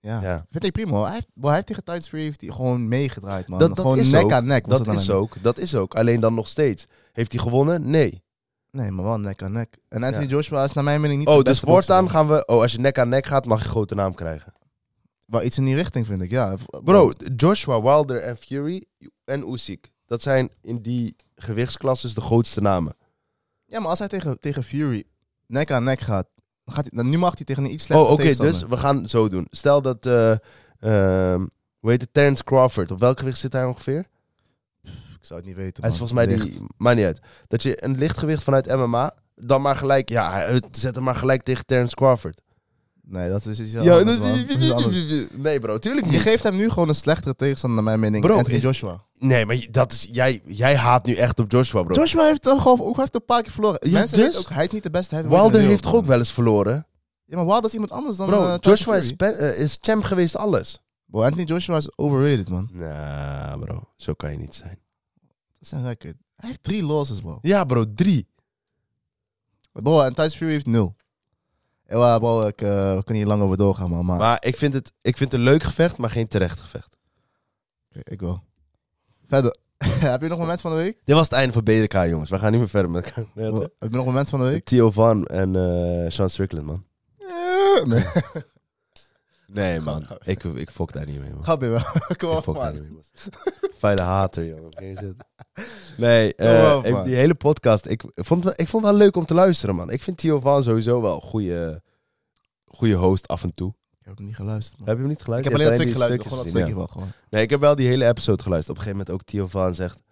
[SPEAKER 5] Ja.
[SPEAKER 4] Ja.
[SPEAKER 5] Vind ik prima. hoor. Hij heeft, bro, hij heeft tegen Tyson Fury heeft hij gewoon meegedraaid, man.
[SPEAKER 4] Dat- dat
[SPEAKER 5] gewoon
[SPEAKER 4] is
[SPEAKER 5] nek
[SPEAKER 4] ook.
[SPEAKER 5] aan nek. was
[SPEAKER 4] Dat
[SPEAKER 5] het
[SPEAKER 4] is
[SPEAKER 5] dan
[SPEAKER 4] ook. Dat is ook. Alleen dan nog steeds. Heeft hij gewonnen? Nee.
[SPEAKER 5] Nee, maar wel nek aan nek. En Anthony
[SPEAKER 4] Ja.
[SPEAKER 5] Joshua is naar mijn mening niet
[SPEAKER 4] Oh,
[SPEAKER 5] de
[SPEAKER 4] dus
[SPEAKER 5] beste bokser,
[SPEAKER 4] voortaan
[SPEAKER 5] man.
[SPEAKER 4] gaan we... Oh, als je nek aan nek gaat, mag je een grote naam krijgen.
[SPEAKER 5] Wel iets in die richting, vind ik, ja.
[SPEAKER 4] Bro, Joshua Wilder en Fury en Usyk. Dat zijn in die gewichtsklasses de grootste namen.
[SPEAKER 5] Ja, maar als hij tegen, tegen Fury nek aan nek gaat, dan gaat hij, dan nu mag hij tegen een iets
[SPEAKER 4] oh,
[SPEAKER 5] slechter
[SPEAKER 4] oké, dus we gaan zo doen. Stel dat, eh ehm, hoe heet het, Terence Crawford. Op welk gewicht zit hij ongeveer?
[SPEAKER 5] Ik zou het niet weten,
[SPEAKER 4] Hij is
[SPEAKER 5] man.
[SPEAKER 4] volgens mij
[SPEAKER 5] Licht.
[SPEAKER 4] die, maakt niet uit. Dat je een lichtgewicht vanuit MMA, dan maar gelijk, ja, hij- zet hem maar gelijk tegen Terence Crawford.
[SPEAKER 5] Nee, dat is iets heel
[SPEAKER 4] Ja,
[SPEAKER 5] anders,
[SPEAKER 4] dat
[SPEAKER 5] man. Dat is
[SPEAKER 4] [laughs]
[SPEAKER 5] anders.
[SPEAKER 4] is... Nee bro, tuurlijk
[SPEAKER 5] Je
[SPEAKER 4] niet.
[SPEAKER 5] geeft hem nu gewoon een slechtere tegenstander, naar mijn mening.
[SPEAKER 4] Bro,
[SPEAKER 5] Anthony
[SPEAKER 4] ik-
[SPEAKER 5] Joshua.
[SPEAKER 4] Nee, maar dat is, jij, jij haat nu echt op Joshua bro.
[SPEAKER 5] Joshua heeft toch gewoon ook heeft een paar keer verloren.
[SPEAKER 4] Ja,
[SPEAKER 5] Mensen
[SPEAKER 4] dus?
[SPEAKER 5] weten ook, hij is niet de beste heavyweight in de
[SPEAKER 4] Wilder heeft
[SPEAKER 5] wereld,
[SPEAKER 4] toch ook
[SPEAKER 5] man.
[SPEAKER 4] wel eens verloren?
[SPEAKER 5] Ja, maar Wilder is iemand anders dan eh,
[SPEAKER 4] Bro,
[SPEAKER 5] Tyson
[SPEAKER 4] Joshua
[SPEAKER 5] Fury.
[SPEAKER 4] is, pe- eh, is champ geweest alles.
[SPEAKER 5] Bro, Anthony Joshua is overrated, man.
[SPEAKER 4] Nou, bro, zo kan je niet zijn.
[SPEAKER 5] Dat is een record. Hij heeft drie losses, bro.
[SPEAKER 4] Ja, bro, drie.
[SPEAKER 5] Bro, en Tyson Fury heeft nul. Ja, bro, ik, eh, we kunnen hier lang over doorgaan, man. Maar,
[SPEAKER 4] Maar ik vind het, ik vind het een leuk gevecht, maar geen terecht gevecht.
[SPEAKER 5] Oké, ik wel. Verder. [laughs] heb je nog een moment van de week?
[SPEAKER 4] Dit was het einde van BDK, jongens. We gaan niet meer verder met
[SPEAKER 5] [laughs] Bro, heb je nog een moment van de week?
[SPEAKER 4] Theo Van en eh Sean Strickland, man.
[SPEAKER 5] Eh, Nee.
[SPEAKER 4] [laughs] Nee, man. Ik, ik fok daar niet mee, man.
[SPEAKER 5] Grapje, bro. [laughs] Kom
[SPEAKER 4] Ik
[SPEAKER 5] op,
[SPEAKER 4] fok daar niet
[SPEAKER 5] man.
[SPEAKER 4] mee, man. Fijne hater, jongen. Kan je zitten?
[SPEAKER 5] [laughs]
[SPEAKER 4] Nee, eh,
[SPEAKER 5] Kom op,
[SPEAKER 4] ik-
[SPEAKER 5] man.
[SPEAKER 4] die hele podcast. Ik vond, het wel- ik vond het wel leuk om te luisteren, man. Ik vind Theo Van sowieso wel een goede, goede host af en toe.
[SPEAKER 5] Ik heb niet geluisterd, man.
[SPEAKER 4] Heb je hem niet
[SPEAKER 5] Ik
[SPEAKER 4] geluisterd?
[SPEAKER 5] heb alleen dat
[SPEAKER 4] Jij
[SPEAKER 5] stukje
[SPEAKER 4] hebt
[SPEAKER 5] geluisterd. Gewoon
[SPEAKER 4] gezien,
[SPEAKER 5] dat
[SPEAKER 4] ja.
[SPEAKER 5] stukje wel, gewoon.
[SPEAKER 4] Nee, ik heb wel die hele episode geluisterd. Op een gegeven moment ook Theo Van zegt...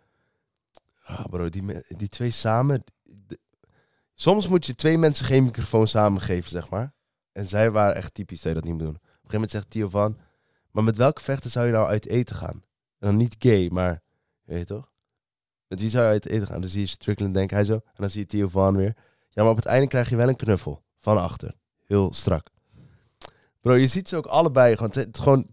[SPEAKER 4] Ah, bro, die, me- die twee samen... d- Soms moet je twee mensen geen microfoon samen geven, zeg maar. En zij waren echt typisch dat je dat niet moet doen. Op een gegeven moment zegt Theo Van... Maar met welke vechter zou je nou uit eten gaan? En dan niet gay, maar... Weet je toch? Met wie zou je uit eten gaan? Dan zie je Strickland denken, hij zo. En dan zie je Theo Van weer. Ja, maar op het einde krijg je wel een knuffel. Van achter. Heel strak. Bro, je ziet ze ook allebei. Gewoon, het- gewoon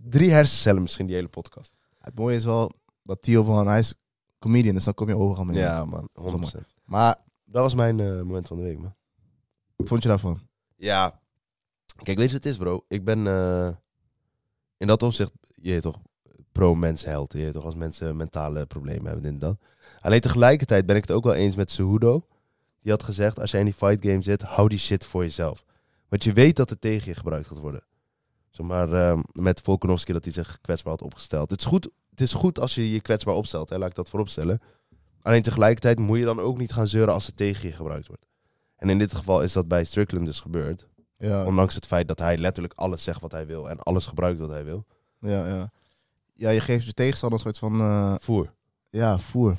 [SPEAKER 4] drie hersencellen misschien, die hele podcast.
[SPEAKER 5] Het mooie is wel dat Theo van hij is comedian, dus dan kom je overal mee.
[SPEAKER 4] man,
[SPEAKER 5] 100%. Maar,
[SPEAKER 4] Dat was mijn eh, moment van de week, man.
[SPEAKER 5] wat vond je daarvan?
[SPEAKER 4] Ja. Kijk, weet je wat het is, bro? Ik ben eh, in dat opzicht, je weet toch, pro-mensheld. Je weet toch, als mensen mentale problemen hebben, dit en dat. Alleen tegelijkertijd ben ik het ook wel eens met Cejudo. Die had gezegd, als jij in die fight game zit, hou die shit voor jezelf. Want je weet dat het tegen je gebruikt gaat worden. Zeg maar eh, met Volkanovski dat hij zich kwetsbaar had opgesteld. Het is goed, het is goed als je je kwetsbaar opstelt, hè? laat ik dat vooropstellen. Alleen tegelijkertijd moet je dan ook niet gaan zeuren als het tegen je gebruikt wordt. En in dit geval is dat bij Strickland dus gebeurd.
[SPEAKER 5] Ja,
[SPEAKER 4] Ondanks het feit dat hij letterlijk alles zegt wat hij wil en alles gebruikt wat hij wil.
[SPEAKER 5] ja, ja. Ja, je geeft je tegenstander een soort van... eh,
[SPEAKER 4] Voer.
[SPEAKER 5] Ja, voer.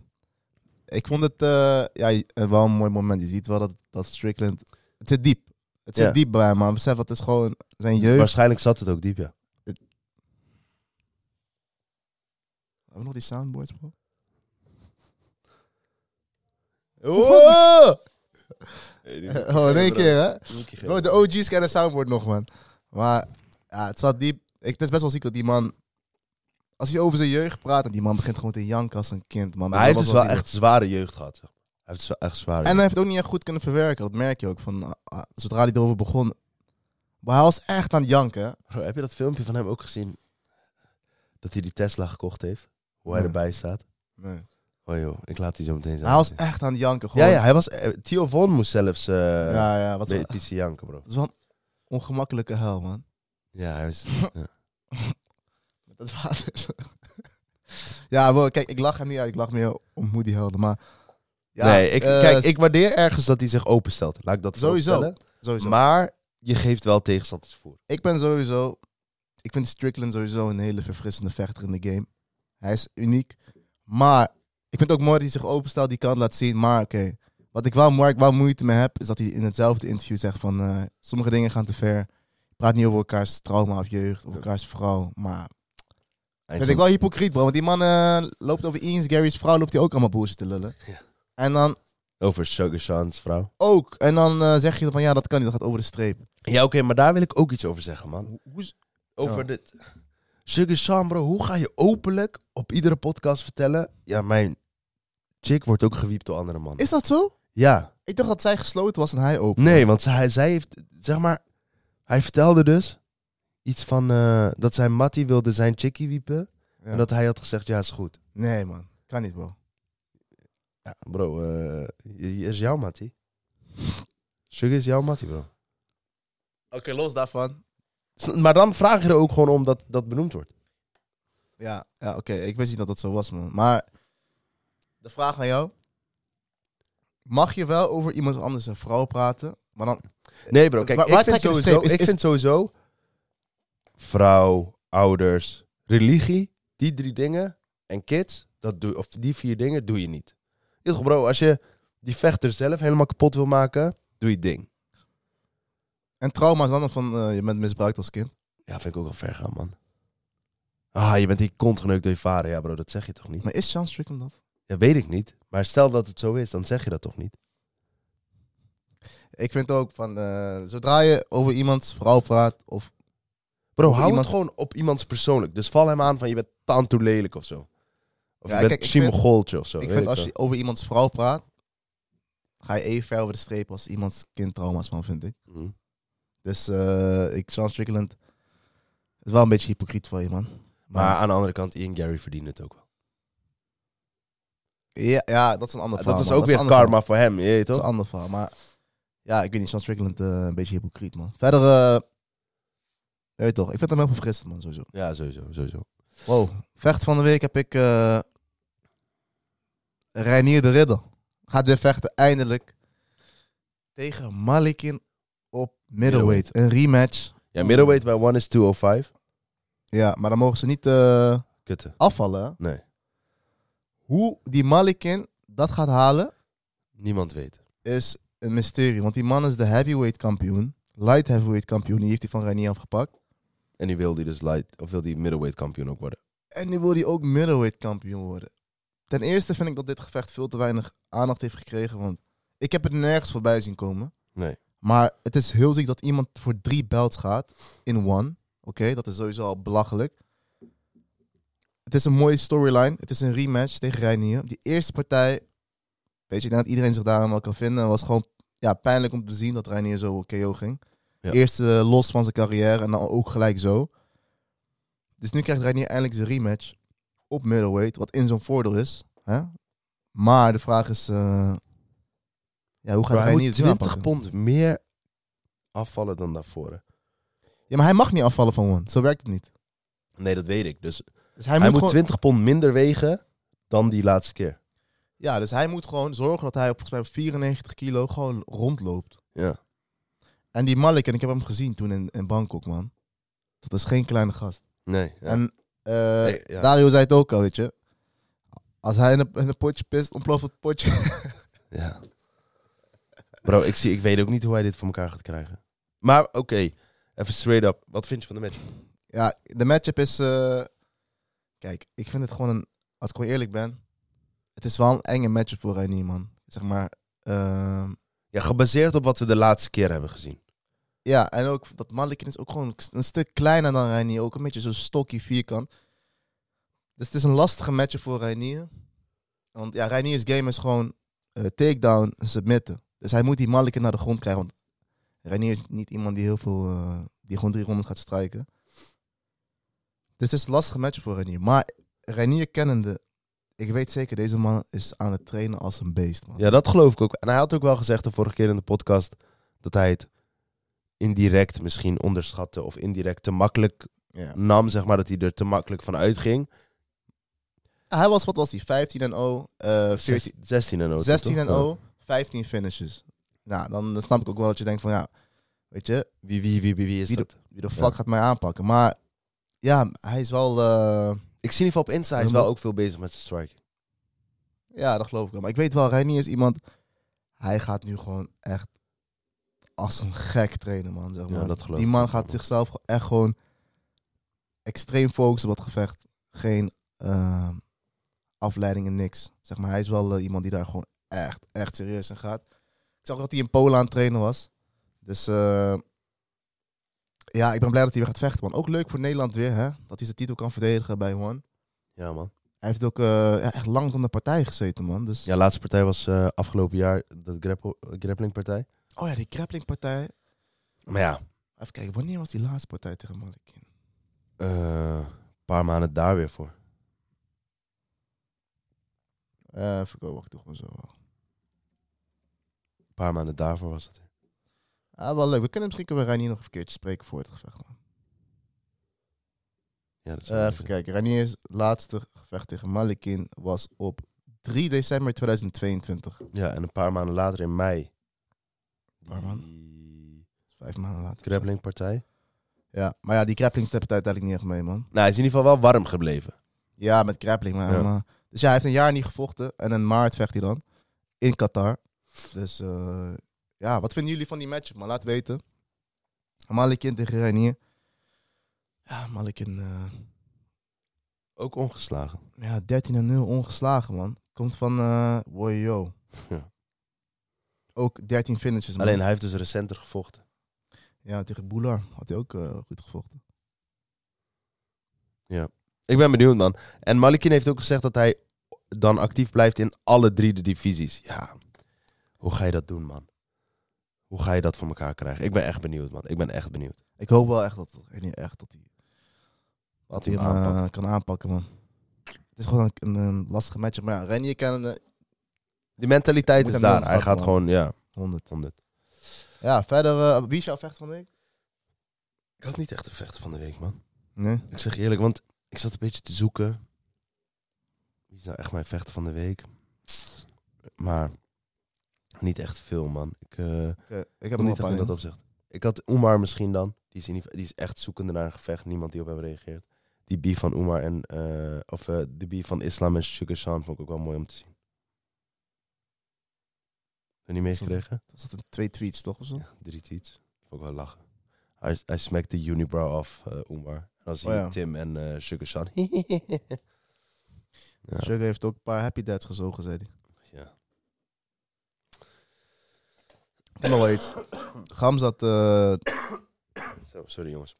[SPEAKER 5] Ik vond het eh, ja, eh, wel een mooi moment. Je ziet wel dat, dat Strickland... Het zit diep. Het zit
[SPEAKER 4] Ja.
[SPEAKER 5] diep bij hem, man. Besef, dat is gewoon zijn jeugd.
[SPEAKER 4] Waarschijnlijk zat het ook diep, ja.
[SPEAKER 5] Hebben we nog die soundboards, bro?
[SPEAKER 4] Oh!
[SPEAKER 5] [laughs] Oh, in één keer, hè? Bro,
[SPEAKER 4] Bro,
[SPEAKER 5] de OG's kennen soundboard nog, man. Maar ja, het zat diep. Ik, het is best wel ziek dat die man... Als hij over zijn jeugd praat... En die man begint gewoon te janken als een kind, man.
[SPEAKER 4] Maar hij heeft
[SPEAKER 5] Dat
[SPEAKER 4] dus
[SPEAKER 5] was
[SPEAKER 4] wel echt zware jeugd gehad. zeg. Hij heeft dus wel echt zware
[SPEAKER 5] En hij
[SPEAKER 4] jeugd.
[SPEAKER 5] heeft het ook niet echt goed kunnen verwerken. Dat merk je ook. Van, ah, ah, zodra hij erover begon... Maar hij was echt aan het janken, hè?
[SPEAKER 4] Bro, heb je dat filmpje van hem ook gezien? Dat hij die Tesla gekocht heeft? Hoe hij
[SPEAKER 5] Nee.
[SPEAKER 4] erbij staat?
[SPEAKER 5] Nee.
[SPEAKER 4] Oh joh, ik laat die zo meteen zijn.
[SPEAKER 5] Hij was echt aan het janken,
[SPEAKER 4] ja,
[SPEAKER 5] gewoon.
[SPEAKER 4] ja, hij was... eh, Theo Von moest zelfs eh
[SPEAKER 5] Ja, ja, wat
[SPEAKER 4] wat
[SPEAKER 5] is
[SPEAKER 4] een beetje janken, bro.
[SPEAKER 5] dat is wel een ongemakkelijke hel, man.
[SPEAKER 4] Ja, hij was...
[SPEAKER 5] Met dat [laughs] water. ja, bro, kijk, ik lach er niet uit. Ik lach meer om hoe die helde. Maar Ja,
[SPEAKER 4] nee, ik,
[SPEAKER 5] eh,
[SPEAKER 4] kijk, ik waardeer ergens dat hij zich openstelt. Laat ik dat voorop
[SPEAKER 5] Sowieso.
[SPEAKER 4] stellen.
[SPEAKER 5] sowieso.
[SPEAKER 4] Maar je geeft wel tegenstanders voor.
[SPEAKER 5] ik ben sowieso... Ik vind Strickland sowieso een hele verfrissende vechter in de game. Hij is uniek. Maar ik vind het ook mooi dat hij zich openstelt, die kant laat zien. Maar oké, wat ik wel, waar ik wel moeite mee heb, is dat hij in hetzelfde interview zegt van... eh, sommige dingen gaan te ver. Praat niet over elkaars trauma of jeugd, of elkaars vrouw. Maar vind ik wel hypocriet, bro. Want die man eh, loopt over Ian's, Gary's vrouw, loopt hij ook allemaal bullshit te lullen.
[SPEAKER 4] Ja.
[SPEAKER 5] En dan
[SPEAKER 4] Over Sugar Sean's vrouw.
[SPEAKER 5] ook. En dan eh, zeg je van ja, dat kan niet, dat gaat over de streep.
[SPEAKER 4] Ja, oké, maar daar wil ik ook iets over zeggen, man. Oh. Over
[SPEAKER 5] Ja.
[SPEAKER 4] dit. Sugar Sean, bro, hoe ga je openlijk op iedere podcast vertellen... Ja, mijn chick wordt ook gewiept door andere mannen.
[SPEAKER 5] Is dat zo?
[SPEAKER 4] Ja.
[SPEAKER 5] Ik dacht dat zij gesloten was en hij open.
[SPEAKER 4] Nee, want zij, zij heeft, zeg maar, hij vertelde dus iets van eh, dat zijn Mattie wilde zijn chickie wiepen.
[SPEAKER 5] Ja.
[SPEAKER 4] En dat hij had gezegd, ja, is goed.
[SPEAKER 5] Nee, man. Kan niet, bro.
[SPEAKER 4] Ja, bro, eh, je- is jouw Mattie. Sugar is jouw Mattie, bro.
[SPEAKER 5] Oké, los daarvan.
[SPEAKER 4] S- Maar dan vraag je er ook gewoon om dat dat benoemd wordt.
[SPEAKER 5] Ja, ja oké. Ik wist niet dat dat zo was, man. Maar de vraag aan jou. Mag je wel over iemand anders een vrouw praten? Maar dan...
[SPEAKER 4] Nee, bro, kijk,
[SPEAKER 5] Waar-
[SPEAKER 4] ik,
[SPEAKER 5] waar
[SPEAKER 4] vind
[SPEAKER 5] trek je de
[SPEAKER 4] sowieso,
[SPEAKER 5] streep? Is-
[SPEAKER 4] ik
[SPEAKER 5] is-
[SPEAKER 4] vind sowieso vrouw, ouders, religie, die drie dingen en kids, dat doe, of die vier dingen doe je niet. Heel goed, Bro, als je die vechter zelf helemaal kapot wil maken, doe je ding.
[SPEAKER 5] En trauma is dan nog van eh, je bent misbruikt als kind.
[SPEAKER 4] Ja, vind ik ook wel ver gaan, man. Ah, je bent die kont geneukt door je vader. Ja, bro, dat zeg je toch niet?
[SPEAKER 5] Maar is Sean Strickland dat?
[SPEAKER 4] Ja, weet ik niet. Maar stel dat het zo is, dan zeg je dat toch niet?
[SPEAKER 5] Ik vind ook van... eh, zodra je over iemands vrouw praat of...
[SPEAKER 4] Bro,
[SPEAKER 5] Over
[SPEAKER 4] hou
[SPEAKER 5] iemand-
[SPEAKER 4] het gewoon op iemands persoonlijk. Dus val hem aan van je bent tanto lelijk of zo. Of
[SPEAKER 5] Ja,
[SPEAKER 4] je
[SPEAKER 5] kijk,
[SPEAKER 4] bent
[SPEAKER 5] ik
[SPEAKER 4] Simogoltje of zo.
[SPEAKER 5] Ik
[SPEAKER 4] weet
[SPEAKER 5] vind als
[SPEAKER 4] wel.
[SPEAKER 5] je over iemands vrouw praat... Ga je even ver over de streep als iemands kind trauma's, man, vind ik.
[SPEAKER 4] Mhm.
[SPEAKER 5] Dus eh ik, Sean Strickland is wel een beetje hypocriet van je, man.
[SPEAKER 4] Maar aan de andere kant, Ian Gary verdiende het ook wel.
[SPEAKER 5] Ja, ja dat is een ander verhaal.
[SPEAKER 4] dat was
[SPEAKER 5] man.
[SPEAKER 4] ook
[SPEAKER 5] is
[SPEAKER 4] weer
[SPEAKER 5] een ander
[SPEAKER 4] karma
[SPEAKER 5] verhaal.
[SPEAKER 4] voor hem, je weet
[SPEAKER 5] Dat is
[SPEAKER 4] toch?
[SPEAKER 5] een ander verhaal. Maar ja, ik weet niet, Sean Strickland eh, een beetje hypocriet, man. Verder, eh, je weet toch, ik vind hem heel verfrissend, man, sowieso.
[SPEAKER 4] Ja, sowieso, sowieso.
[SPEAKER 5] Wow, vecht van de week heb ik eh Reinier de Ridder. Gaat weer vechten, eindelijk. Tegen Malikin op middleweight. Een rematch.
[SPEAKER 4] Ja, middleweight bij one is 205.
[SPEAKER 5] Ja, maar dan mogen ze niet... eh,
[SPEAKER 4] Kutte.
[SPEAKER 5] afvallen. hè?
[SPEAKER 4] Nee.
[SPEAKER 5] Hoe die Malikin dat gaat halen
[SPEAKER 4] Niemand weet.
[SPEAKER 5] is een mysterie. Want die man is de heavyweight kampioen. Light heavyweight kampioen. Die heeft hij van Reinier afgepakt.
[SPEAKER 4] En die wil die dus light, of wil die middleweight kampioen ook worden.
[SPEAKER 5] En nu wil hij ook middleweight kampioen worden. Ten eerste vind ik dat dit gevecht veel te weinig aandacht heeft gekregen. Want ik heb het nergens voorbij zien komen.
[SPEAKER 4] Nee.
[SPEAKER 5] Maar het is heel ziek dat iemand voor drie belts gaat in one. Oké, dat is sowieso al belachelijk. Het is een mooie storyline. Het is een rematch tegen Reinier. Die eerste partij, weet je, ik denk dat iedereen zich daar helemaal kan vinden. was gewoon ja, pijnlijk om te zien dat Reinier zo KO ging.
[SPEAKER 4] Ja.
[SPEAKER 5] Eerst eh, los van zijn carrière en dan ook gelijk zo. Dus nu krijgt Reinier eindelijk zijn rematch op middleweight, wat in zijn voordeel is. Hè? Maar de vraag is, eh, ja, hoe gaat
[SPEAKER 4] Bro, hij
[SPEAKER 5] Reinier
[SPEAKER 4] moet
[SPEAKER 5] het nu
[SPEAKER 4] 20
[SPEAKER 5] aanpakken?
[SPEAKER 4] pond meer afvallen dan daarvoor. hè.
[SPEAKER 5] Ja, maar hij mag niet afvallen van one. Zo werkt het niet.
[SPEAKER 4] Nee, dat weet ik. Dus hij,
[SPEAKER 5] Dus hij,
[SPEAKER 4] moet,
[SPEAKER 5] moet, gewoon,
[SPEAKER 4] 20 pond minder wegen dan die laatste keer.
[SPEAKER 5] ja, dus hij moet gewoon zorgen dat hij op, volgens mij op 94 kilo gewoon rondloopt.
[SPEAKER 4] Ja.
[SPEAKER 5] En die Malik, en ik heb hem gezien toen in, in Bangkok, man. Dat is geen kleine gast.
[SPEAKER 4] Nee. ja.
[SPEAKER 5] En eh,
[SPEAKER 4] Nee, ja.
[SPEAKER 5] Dario zei het ook al, weet je. Als hij in een, in een potje pist, ontploft het potje. [laughs]
[SPEAKER 4] Ja. Bro, ik, zie, ik weet ook niet hoe hij dit voor elkaar gaat krijgen. Maar oké, even straight up. Wat vind je van de match?
[SPEAKER 5] Ja, de matchup is. eh, kijk, ik vind het gewoon een. Als ik gewoon eerlijk ben. Het is wel een enge matchup voor Reinier, man. Zeg maar. ehm,
[SPEAKER 4] Ja, gebaseerd op wat we de laatste keer hebben gezien.
[SPEAKER 5] ja, en ook dat Malikin is ook gewoon een stuk kleiner dan Reinier. Ook een beetje zo'n stokkie vierkant. Dus het is een lastige matchup voor Reinier. Want ja, Reinier's game is gewoon eh, takedown en submitten. Dus hij moet die Malikin naar de grond krijgen. Want Reinier is niet iemand die heel veel. eh, die gewoon drie rondes gaat strijken. Dus het is een lastige matchup voor Reinier. Maar Reinier kennende. Ik weet zeker, deze man is aan het trainen als een beest, man.
[SPEAKER 4] Ja, dat geloof ik ook. En hij had ook wel gezegd de vorige keer in de podcast dat hij het indirect misschien onderschatte of indirect te makkelijk
[SPEAKER 5] Ja.
[SPEAKER 4] nam, zeg maar, dat hij er te makkelijk van uitging.
[SPEAKER 5] Hij was, wat was hij? 15 en 0, eh 14,
[SPEAKER 4] 16 en 0.
[SPEAKER 5] 16 en 0, 15 finishes. Nou, dan dan snap ik ook wel dat je denkt van, ja, weet je,
[SPEAKER 4] Wie, wie, wie, wie, wie is
[SPEAKER 5] Wie
[SPEAKER 4] dat?
[SPEAKER 5] wie de
[SPEAKER 4] Ja.
[SPEAKER 5] fuck gaat mij aanpakken? Maar ja, hij is wel, eh,
[SPEAKER 4] Ik zie in ieder geval op Insta, hij is
[SPEAKER 5] Dan
[SPEAKER 4] wel
[SPEAKER 5] moet-
[SPEAKER 4] ook veel bezig met zijn strike.
[SPEAKER 5] ja, dat geloof ik wel. Maar ik weet wel, Reinier is iemand, hij gaat nu gewoon echt als een gek trainen, man. Zeg maar.
[SPEAKER 4] Ja, dat geloof
[SPEAKER 5] Die
[SPEAKER 4] ik
[SPEAKER 5] man
[SPEAKER 4] ook
[SPEAKER 5] gaat
[SPEAKER 4] wel.
[SPEAKER 5] zichzelf gewoon echt gewoon extreem focussen op dat gevecht. Geen ehm, afleidingen, niks. Zeg maar, hij is wel eh, iemand die daar gewoon echt, echt serieus in gaat. Ik zag ook dat hij in Polen aan het trainen was. Dus eh, ja, ik ben blij dat hij weer gaat vechten, man. Ook leuk voor Nederland weer, hè? Dat hij zijn titel kan verdedigen bij One.
[SPEAKER 4] Ja, man.
[SPEAKER 5] Hij heeft ook eh, ja, echt lang van de partij gezeten, man. Dus,
[SPEAKER 4] Ja, laatste partij was eh, afgelopen jaar dat grapple, grappling partij.
[SPEAKER 5] Oh ja, die grapplingpartij.
[SPEAKER 4] Maar ja,
[SPEAKER 5] Even kijken, wanneer was die laatste partij tegen Malikin?
[SPEAKER 4] eh, een paar maanden daar weer voor.
[SPEAKER 5] Eh even kijken, wacht, toch maar zo.
[SPEAKER 4] Een paar maanden daarvoor was het.
[SPEAKER 5] Ah, wel leuk. We kunnen misschien kunnen we Reinier nog een keertje spreken voor het gevecht. man.
[SPEAKER 4] Ja, dat is
[SPEAKER 5] Eh,
[SPEAKER 4] wel
[SPEAKER 5] even kijken. Reinier's laatste gevecht tegen Malikin was op 3 december 2022.
[SPEAKER 4] Ja, en een paar maanden later in mei.
[SPEAKER 5] Paar maanden?
[SPEAKER 4] Die
[SPEAKER 5] Vijf maanden later.
[SPEAKER 4] grappling partij.
[SPEAKER 5] Ja, maar ja, die grappling tapt het uiteindelijk niet echt mee, man.
[SPEAKER 4] Nou, hij is in ieder geval wel warm gebleven.
[SPEAKER 5] Ja, met grappling, maar...
[SPEAKER 4] Ja.
[SPEAKER 5] maar- dus ja, hij heeft een jaar niet gevochten. En in maart vecht hij dan. In Qatar. Dus eh, ja, wat vinden jullie van die matchup, man? Laat weten. Malikin tegen Reinier. Ja, Malikin... eh,
[SPEAKER 4] Ook ongeslagen.
[SPEAKER 5] Ja, 13 en 0 ongeslagen, man. Komt van eh Woyo.
[SPEAKER 4] Ja.
[SPEAKER 5] Ook 13 finishes, man.
[SPEAKER 4] Alleen hij heeft dus recenter gevochten.
[SPEAKER 5] Ja, tegen Boelar had hij ook eh, goed gevochten.
[SPEAKER 4] Ik ben benieuwd, man. En Malikin heeft ook gezegd dat hij dan actief blijft in alle drie de divisies. Ja, hoe ga je dat doen, man? Hoe ga je dat voor elkaar krijgen? Ik ben echt benieuwd, man. Ik ben echt benieuwd.
[SPEAKER 5] Ik hoop wel echt dat, en niet echt dat hij, dat hij
[SPEAKER 4] hij
[SPEAKER 5] hem
[SPEAKER 4] hem
[SPEAKER 5] eh,
[SPEAKER 4] aanpakt.
[SPEAKER 5] kan aanpakken, man. Het is gewoon een, een, een lastige matchup. Maar ja, Renier kan eh,
[SPEAKER 4] Die mentaliteit
[SPEAKER 5] Moet
[SPEAKER 4] is
[SPEAKER 5] hem
[SPEAKER 4] daar.
[SPEAKER 5] wel
[SPEAKER 4] Hij gaat
[SPEAKER 5] ontspannen,
[SPEAKER 4] gewoon, ja,
[SPEAKER 5] 100.
[SPEAKER 4] 100.
[SPEAKER 5] Ja, verder, eh, wie is jouw vecht van de week?
[SPEAKER 4] Ik had niet echt de vechten van de week, man.
[SPEAKER 5] Nee.
[SPEAKER 4] Ik zeg je eerlijk, want ik zat een beetje te zoeken. Wie is nou echt mijn vechter van de week? Maar niet echt veel, man. Ik eh
[SPEAKER 5] ik
[SPEAKER 4] heb
[SPEAKER 5] heb
[SPEAKER 4] niet echt in dat opzicht. Ik had Oemar misschien dan. Die is, in, ieder- die is echt zoekende naar een gevecht. Niemand die op hem reageert. Die beef van Oemar en... eh, of eh, de beef van Islam en Sugar Sean vond ik ook wel mooi om te zien. Heb je niet meegekregen?
[SPEAKER 5] Er zat een twee tweets, toch? Of zo?
[SPEAKER 4] Ja, drie tweets. Vond ik wel lachen. Hij, hij smakt de unibrow af, eh Oemar. En dan zie
[SPEAKER 5] Oh
[SPEAKER 4] je
[SPEAKER 5] ja.
[SPEAKER 4] Tim en eh Sugar [laughs] Sean. Ja.
[SPEAKER 5] Sugar heeft ook een paar happy dads gezogen, zei hij.
[SPEAKER 4] ja.
[SPEAKER 5] Kom maar wel
[SPEAKER 4] [laughs]
[SPEAKER 5] iets. Gamzat, eh,
[SPEAKER 4] Zo, sorry jongens.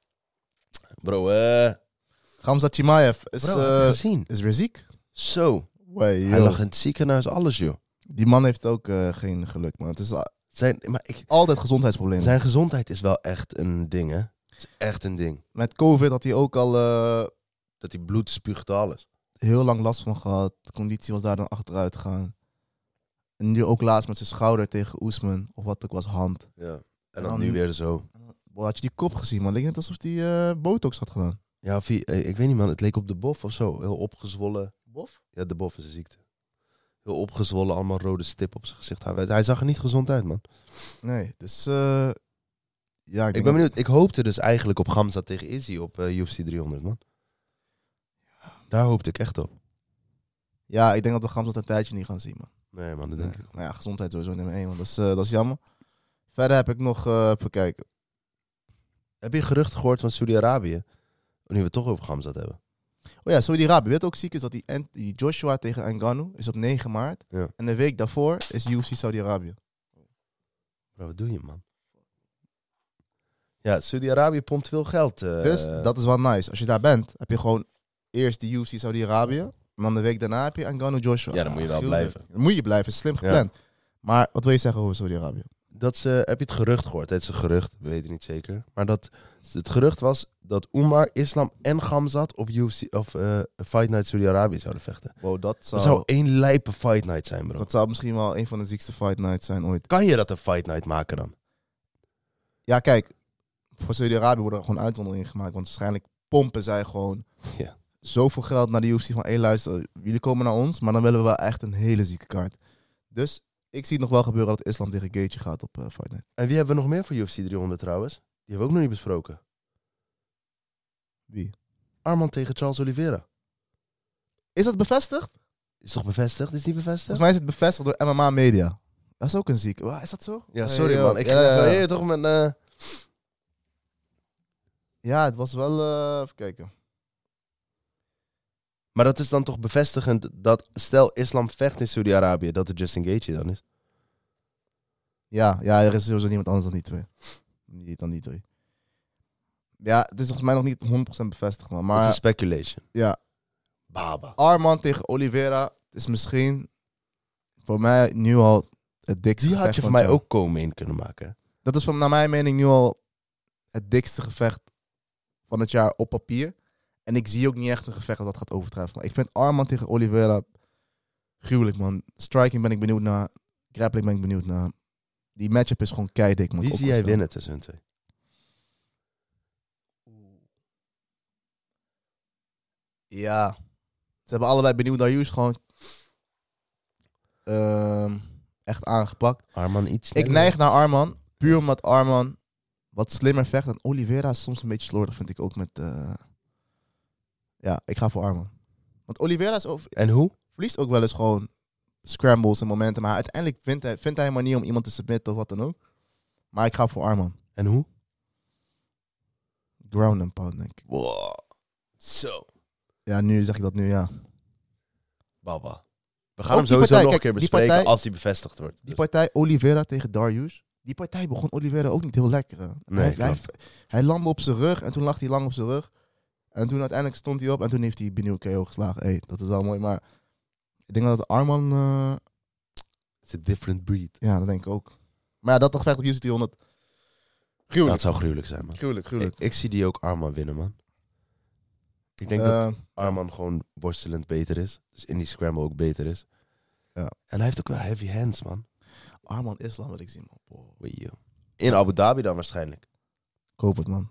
[SPEAKER 4] Bro, eh
[SPEAKER 5] Gamzat Chimaev is,
[SPEAKER 4] bro, heb je
[SPEAKER 5] eh,
[SPEAKER 4] gezien?
[SPEAKER 5] is weer ziek.
[SPEAKER 4] Zo.
[SPEAKER 5] Wai,
[SPEAKER 4] Hij
[SPEAKER 5] yo.
[SPEAKER 4] lag in het ziekenhuis, alles joh.
[SPEAKER 5] Die man heeft ook eh, geen geluk, man. Het is al-
[SPEAKER 4] Zijn, maar ik,
[SPEAKER 5] altijd gezondheidsproblemen.
[SPEAKER 4] zijn gezondheid is wel echt een ding, hè? Het is echt een ding.
[SPEAKER 5] Met COVID had hij ook al eh,
[SPEAKER 4] Dat hij bloed spuugt, alles.
[SPEAKER 5] heel lang last van gehad. De conditie was daar dan achteruit gegaan. En nu ook laatst met zijn schouder tegen Oesman. Of wat ook was, hand.
[SPEAKER 4] Ja. En
[SPEAKER 5] En
[SPEAKER 4] dan
[SPEAKER 5] dan
[SPEAKER 4] nu
[SPEAKER 5] nu-
[SPEAKER 4] weer zo.
[SPEAKER 5] Boy, had je die kop gezien, man? Leek net alsof hij eh, botox had gedaan.
[SPEAKER 4] Ja, of hij- eh, ik weet niet man, het leek op de bof of zo. Heel opgezwollen. Ja, de bof is een ziekte. Heel opgezwollen, allemaal rode stip op zijn gezicht. Hij, hij zag er niet gezond uit, man.
[SPEAKER 5] Nee, dus... eh, ja, ik,
[SPEAKER 4] Ik
[SPEAKER 5] denk
[SPEAKER 4] ben
[SPEAKER 5] dat-
[SPEAKER 4] benieuwd. Ik hoopte dus eigenlijk op Gamza tegen Izzy op eh, UFC 300, man. Daar hoopte ik echt op.
[SPEAKER 5] Ja, ik denk dat we Gamzat een tijdje niet gaan zien, man.
[SPEAKER 4] Nee, man, dat
[SPEAKER 5] Nee.
[SPEAKER 4] denk ik.
[SPEAKER 5] Maar ja, gezondheid sowieso nummer één, want dat is, eh, dat is jammer. Verder heb ik nog... eh even kijken.
[SPEAKER 4] Heb je geruchten gehoord van Saudi-Arabië? Nu we het toch over Gamza hebben.
[SPEAKER 5] Oh ja, Saudi-Arabië. Weet ook ziek is dat die, Ant- die Joshua tegen Engano is op 9 maart.
[SPEAKER 4] Ja.
[SPEAKER 5] En de week daarvoor is UFC Saudi-Arabië.
[SPEAKER 4] Bro, wat doe je, man? Ja, Saudi-Arabië pompt veel geld. eh,
[SPEAKER 5] dus dat is wel nice. Als je daar bent, heb je gewoon eerst de UFC Saudi-Arabië. En dan de week daarna heb je Engano Joshua.
[SPEAKER 4] Ja, dan moet je wel
[SPEAKER 5] gruwelijk.
[SPEAKER 4] blijven.
[SPEAKER 5] Dan moet je blijven, is slim gepland. Maar wat wil je zeggen over Saudi-Arabië?
[SPEAKER 4] dat ze, heb je het gerucht gehoord? Het is een gerucht, we weten niet zeker. Maar dat, het gerucht was dat Oemar, Islam en Gamzat op UFC, of, eh, Fight Night Saudi-Arabië zouden vechten.
[SPEAKER 5] Wow, dat
[SPEAKER 4] Dat
[SPEAKER 5] zou,
[SPEAKER 4] zou één lijpe Fight Night zijn, bro.
[SPEAKER 5] dat zou misschien wel een van de ziekste fight nights zijn ooit.
[SPEAKER 4] Kan je dat een Fight Night maken dan?
[SPEAKER 5] Ja, kijk. Voor Saudi-Arabië worden er gewoon uitzonderingen gemaakt. Want waarschijnlijk pompen zij gewoon
[SPEAKER 4] [laughs] Ja.
[SPEAKER 5] zoveel geld naar de UFC van, hé luister, jullie komen naar ons, maar dan willen we wel echt een hele zieke kaart. Dus ik zie het nog wel gebeuren dat Islam tegen Gaethje gaat op eh Fight Night.
[SPEAKER 4] En wie hebben we nog meer voor UFC 300 trouwens? Die hebben we ook nog niet besproken.
[SPEAKER 5] Wie?
[SPEAKER 4] Arman tegen Charles Oliveira.
[SPEAKER 5] Is dat bevestigd?
[SPEAKER 4] Is toch bevestigd? Is niet bevestigd?
[SPEAKER 5] Volgens mij is het bevestigd door MMA Media. Dat is ook een zieke. Wa- Is dat zo?
[SPEAKER 4] Ja,
[SPEAKER 5] Hey,
[SPEAKER 4] sorry
[SPEAKER 5] yo.
[SPEAKER 4] man. Ik
[SPEAKER 5] ja,
[SPEAKER 4] ga even...
[SPEAKER 5] ja, ja.
[SPEAKER 4] Hey, toch met... eh,
[SPEAKER 5] Ja, het was wel... eh, even kijken.
[SPEAKER 4] Maar dat is dan toch bevestigend dat... Stel, islam vecht in Saudi-Arabië. Dat het Justin Gaethje dan is.
[SPEAKER 5] Ja, ja, er is sowieso niemand anders dan die twee. Die, dan die twee. Ja, het is volgens mij nog niet 100% bevestigd, man.
[SPEAKER 4] Dat is een
[SPEAKER 5] Maar
[SPEAKER 4] speculation.
[SPEAKER 5] ja,
[SPEAKER 4] Baba.
[SPEAKER 5] Arman tegen Oliveira is misschien voor mij nu al het dikste
[SPEAKER 4] Die had
[SPEAKER 5] gevecht
[SPEAKER 4] je voor
[SPEAKER 5] van
[SPEAKER 4] mij
[SPEAKER 5] het jaar.
[SPEAKER 4] ook komen in kunnen maken. hè?
[SPEAKER 5] Dat is voor, naar mijn mening nu al het dikste gevecht van het jaar op papier. En ik zie ook niet echt een gevecht dat dat gaat overtreffen. Maar ik vind Arman tegen Oliveira gruwelijk, man. Striking ben ik benieuwd naar. Grappling ben ik benieuwd naar. Die matchup is gewoon keidik, man.
[SPEAKER 4] Wie zie jij
[SPEAKER 5] Opgesteld.
[SPEAKER 4] winnen tussen hun twee?
[SPEAKER 5] Ja. Ze hebben allebei benieuwd naar Hughes gewoon ehm, echt aangepakt.
[SPEAKER 4] Arman iets
[SPEAKER 5] Ik
[SPEAKER 4] sneller.
[SPEAKER 5] neig naar Arman. Puur omdat Arman wat slimmer vecht. En Oliveira is soms een beetje slordig, vind ik ook met... eh, Ja, ik ga voor Arman. Want Oliveira is over...
[SPEAKER 4] En hoe?
[SPEAKER 5] verliest ook wel eens gewoon scrambles en momenten. Maar uiteindelijk vindt hij, vindt hij een manier om iemand te submitten of wat dan ook. Maar ik ga voor Arman.
[SPEAKER 4] En hoe?
[SPEAKER 5] Ground and pound, denk ik.
[SPEAKER 4] Wow. Zo.
[SPEAKER 5] Ja, nu zeg ik dat nu, ja.
[SPEAKER 4] Baba. We
[SPEAKER 5] Ook
[SPEAKER 4] gaan hem
[SPEAKER 5] die
[SPEAKER 4] sowieso
[SPEAKER 5] partij,
[SPEAKER 4] nog
[SPEAKER 5] kijk,
[SPEAKER 4] een keer
[SPEAKER 5] die
[SPEAKER 4] bespreken
[SPEAKER 5] partij-
[SPEAKER 4] als hij bevestigd wordt.
[SPEAKER 5] Die
[SPEAKER 4] Dus-
[SPEAKER 5] partij Oliveira tegen Darius. Die partij begon Oliveira ook niet heel lekker. hè.
[SPEAKER 4] Nee,
[SPEAKER 5] hij, hij, hij landde op zijn rug en toen lag hij lang op zijn rug. En toen uiteindelijk stond hij op en toen heeft hij benieuwd KO geslagen. Hey, dat is wel mooi, maar ik denk dat Arman... eh,
[SPEAKER 4] It's a different breed.
[SPEAKER 5] ja, dat denk ik ook. Maar ja, dat gevecht op UFC 300.
[SPEAKER 4] Dat
[SPEAKER 5] Gruwelijk,
[SPEAKER 4] zou gruwelijk zijn, man.
[SPEAKER 5] gruwelijk, gruwelijk.
[SPEAKER 4] Ik, ik zie die ook Arman winnen, man. Ik denk dat
[SPEAKER 5] Eh,
[SPEAKER 4] Arman gewoon worstelend beter is. Dus in die scramble ook beter is.
[SPEAKER 5] Ja.
[SPEAKER 4] En hij heeft ook wel heavy hands, man.
[SPEAKER 5] Arman Islam wil ik zien, man. Wow.
[SPEAKER 4] Wee, joh. In Abu Dhabi dan waarschijnlijk.
[SPEAKER 5] Ik hoop het, man.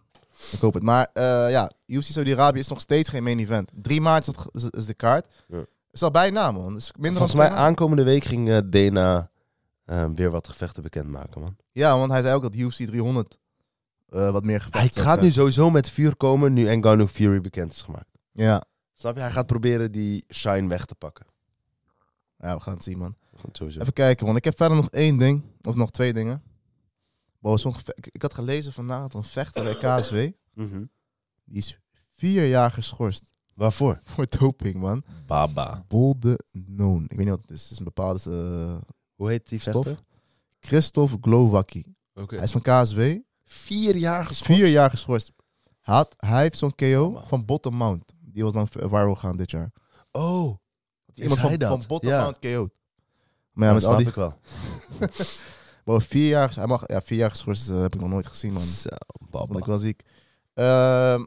[SPEAKER 5] Ik hoop het. Maar eh, ja, UFC Saudi-Arabië is nog steeds geen main event. 3 maart is, dat ge- is- is de kaart.
[SPEAKER 4] Ja.
[SPEAKER 5] Is al bijna, man. Is minder
[SPEAKER 4] Volgens
[SPEAKER 5] dan
[SPEAKER 4] mij
[SPEAKER 5] twee maanden.
[SPEAKER 4] aankomende week ging eh, Dana eh, weer wat gevechten bekendmaken, man.
[SPEAKER 5] Ja, want hij zei ook dat UFC 300 eh, wat meer
[SPEAKER 4] Hij
[SPEAKER 5] gevecht zou
[SPEAKER 4] gaat nu
[SPEAKER 5] krijgen.
[SPEAKER 4] sowieso met vuur komen nu Ngannou Fury bekend is gemaakt.
[SPEAKER 5] Ja.
[SPEAKER 4] Snap je? Hij gaat proberen die shine weg te pakken.
[SPEAKER 5] ja, we gaan het zien, man.
[SPEAKER 4] Goed, Sowieso.
[SPEAKER 5] Even kijken, want ik heb verder nog één ding. Of nog twee dingen. Wow, zo'n geve- ik, ik had gelezen vanavond een vechter bij KSW.
[SPEAKER 4] Mhm.
[SPEAKER 5] Die is vier jaar geschorst
[SPEAKER 4] Waarvoor?
[SPEAKER 5] voor doping, man.
[SPEAKER 4] Baba.
[SPEAKER 5] Bolde Noon. Ik weet niet wat het is. Het is een bepaalde eh,
[SPEAKER 4] Hoe heet die
[SPEAKER 5] stof.
[SPEAKER 4] vechter?
[SPEAKER 5] Christophe Glowacki.
[SPEAKER 4] Oké.
[SPEAKER 5] Hij is van KSW.
[SPEAKER 4] Vier jaar
[SPEAKER 5] Is
[SPEAKER 4] geschorst.
[SPEAKER 5] vier jaar geschorst. Hij Had, hij heeft zo'n KO
[SPEAKER 4] Oh, man.
[SPEAKER 5] van Bottom Mount. Die was dan viral gaan dit jaar.
[SPEAKER 4] Oh. Is
[SPEAKER 5] Iemand
[SPEAKER 4] hij
[SPEAKER 5] van,
[SPEAKER 4] dat?
[SPEAKER 5] van Bottom
[SPEAKER 4] Ja.
[SPEAKER 5] Mount KO'd. Maar
[SPEAKER 4] Ja,
[SPEAKER 5] ja,
[SPEAKER 4] dat
[SPEAKER 5] met
[SPEAKER 4] snap
[SPEAKER 5] al die...
[SPEAKER 4] ik wel.
[SPEAKER 5] Wow, vier jaar, hij mag, ja, vier jaar geschorst eh, heb ik nog nooit gezien, man.
[SPEAKER 4] Zo,
[SPEAKER 5] Vond ik
[SPEAKER 4] baba.
[SPEAKER 5] wel ziek. Ehm,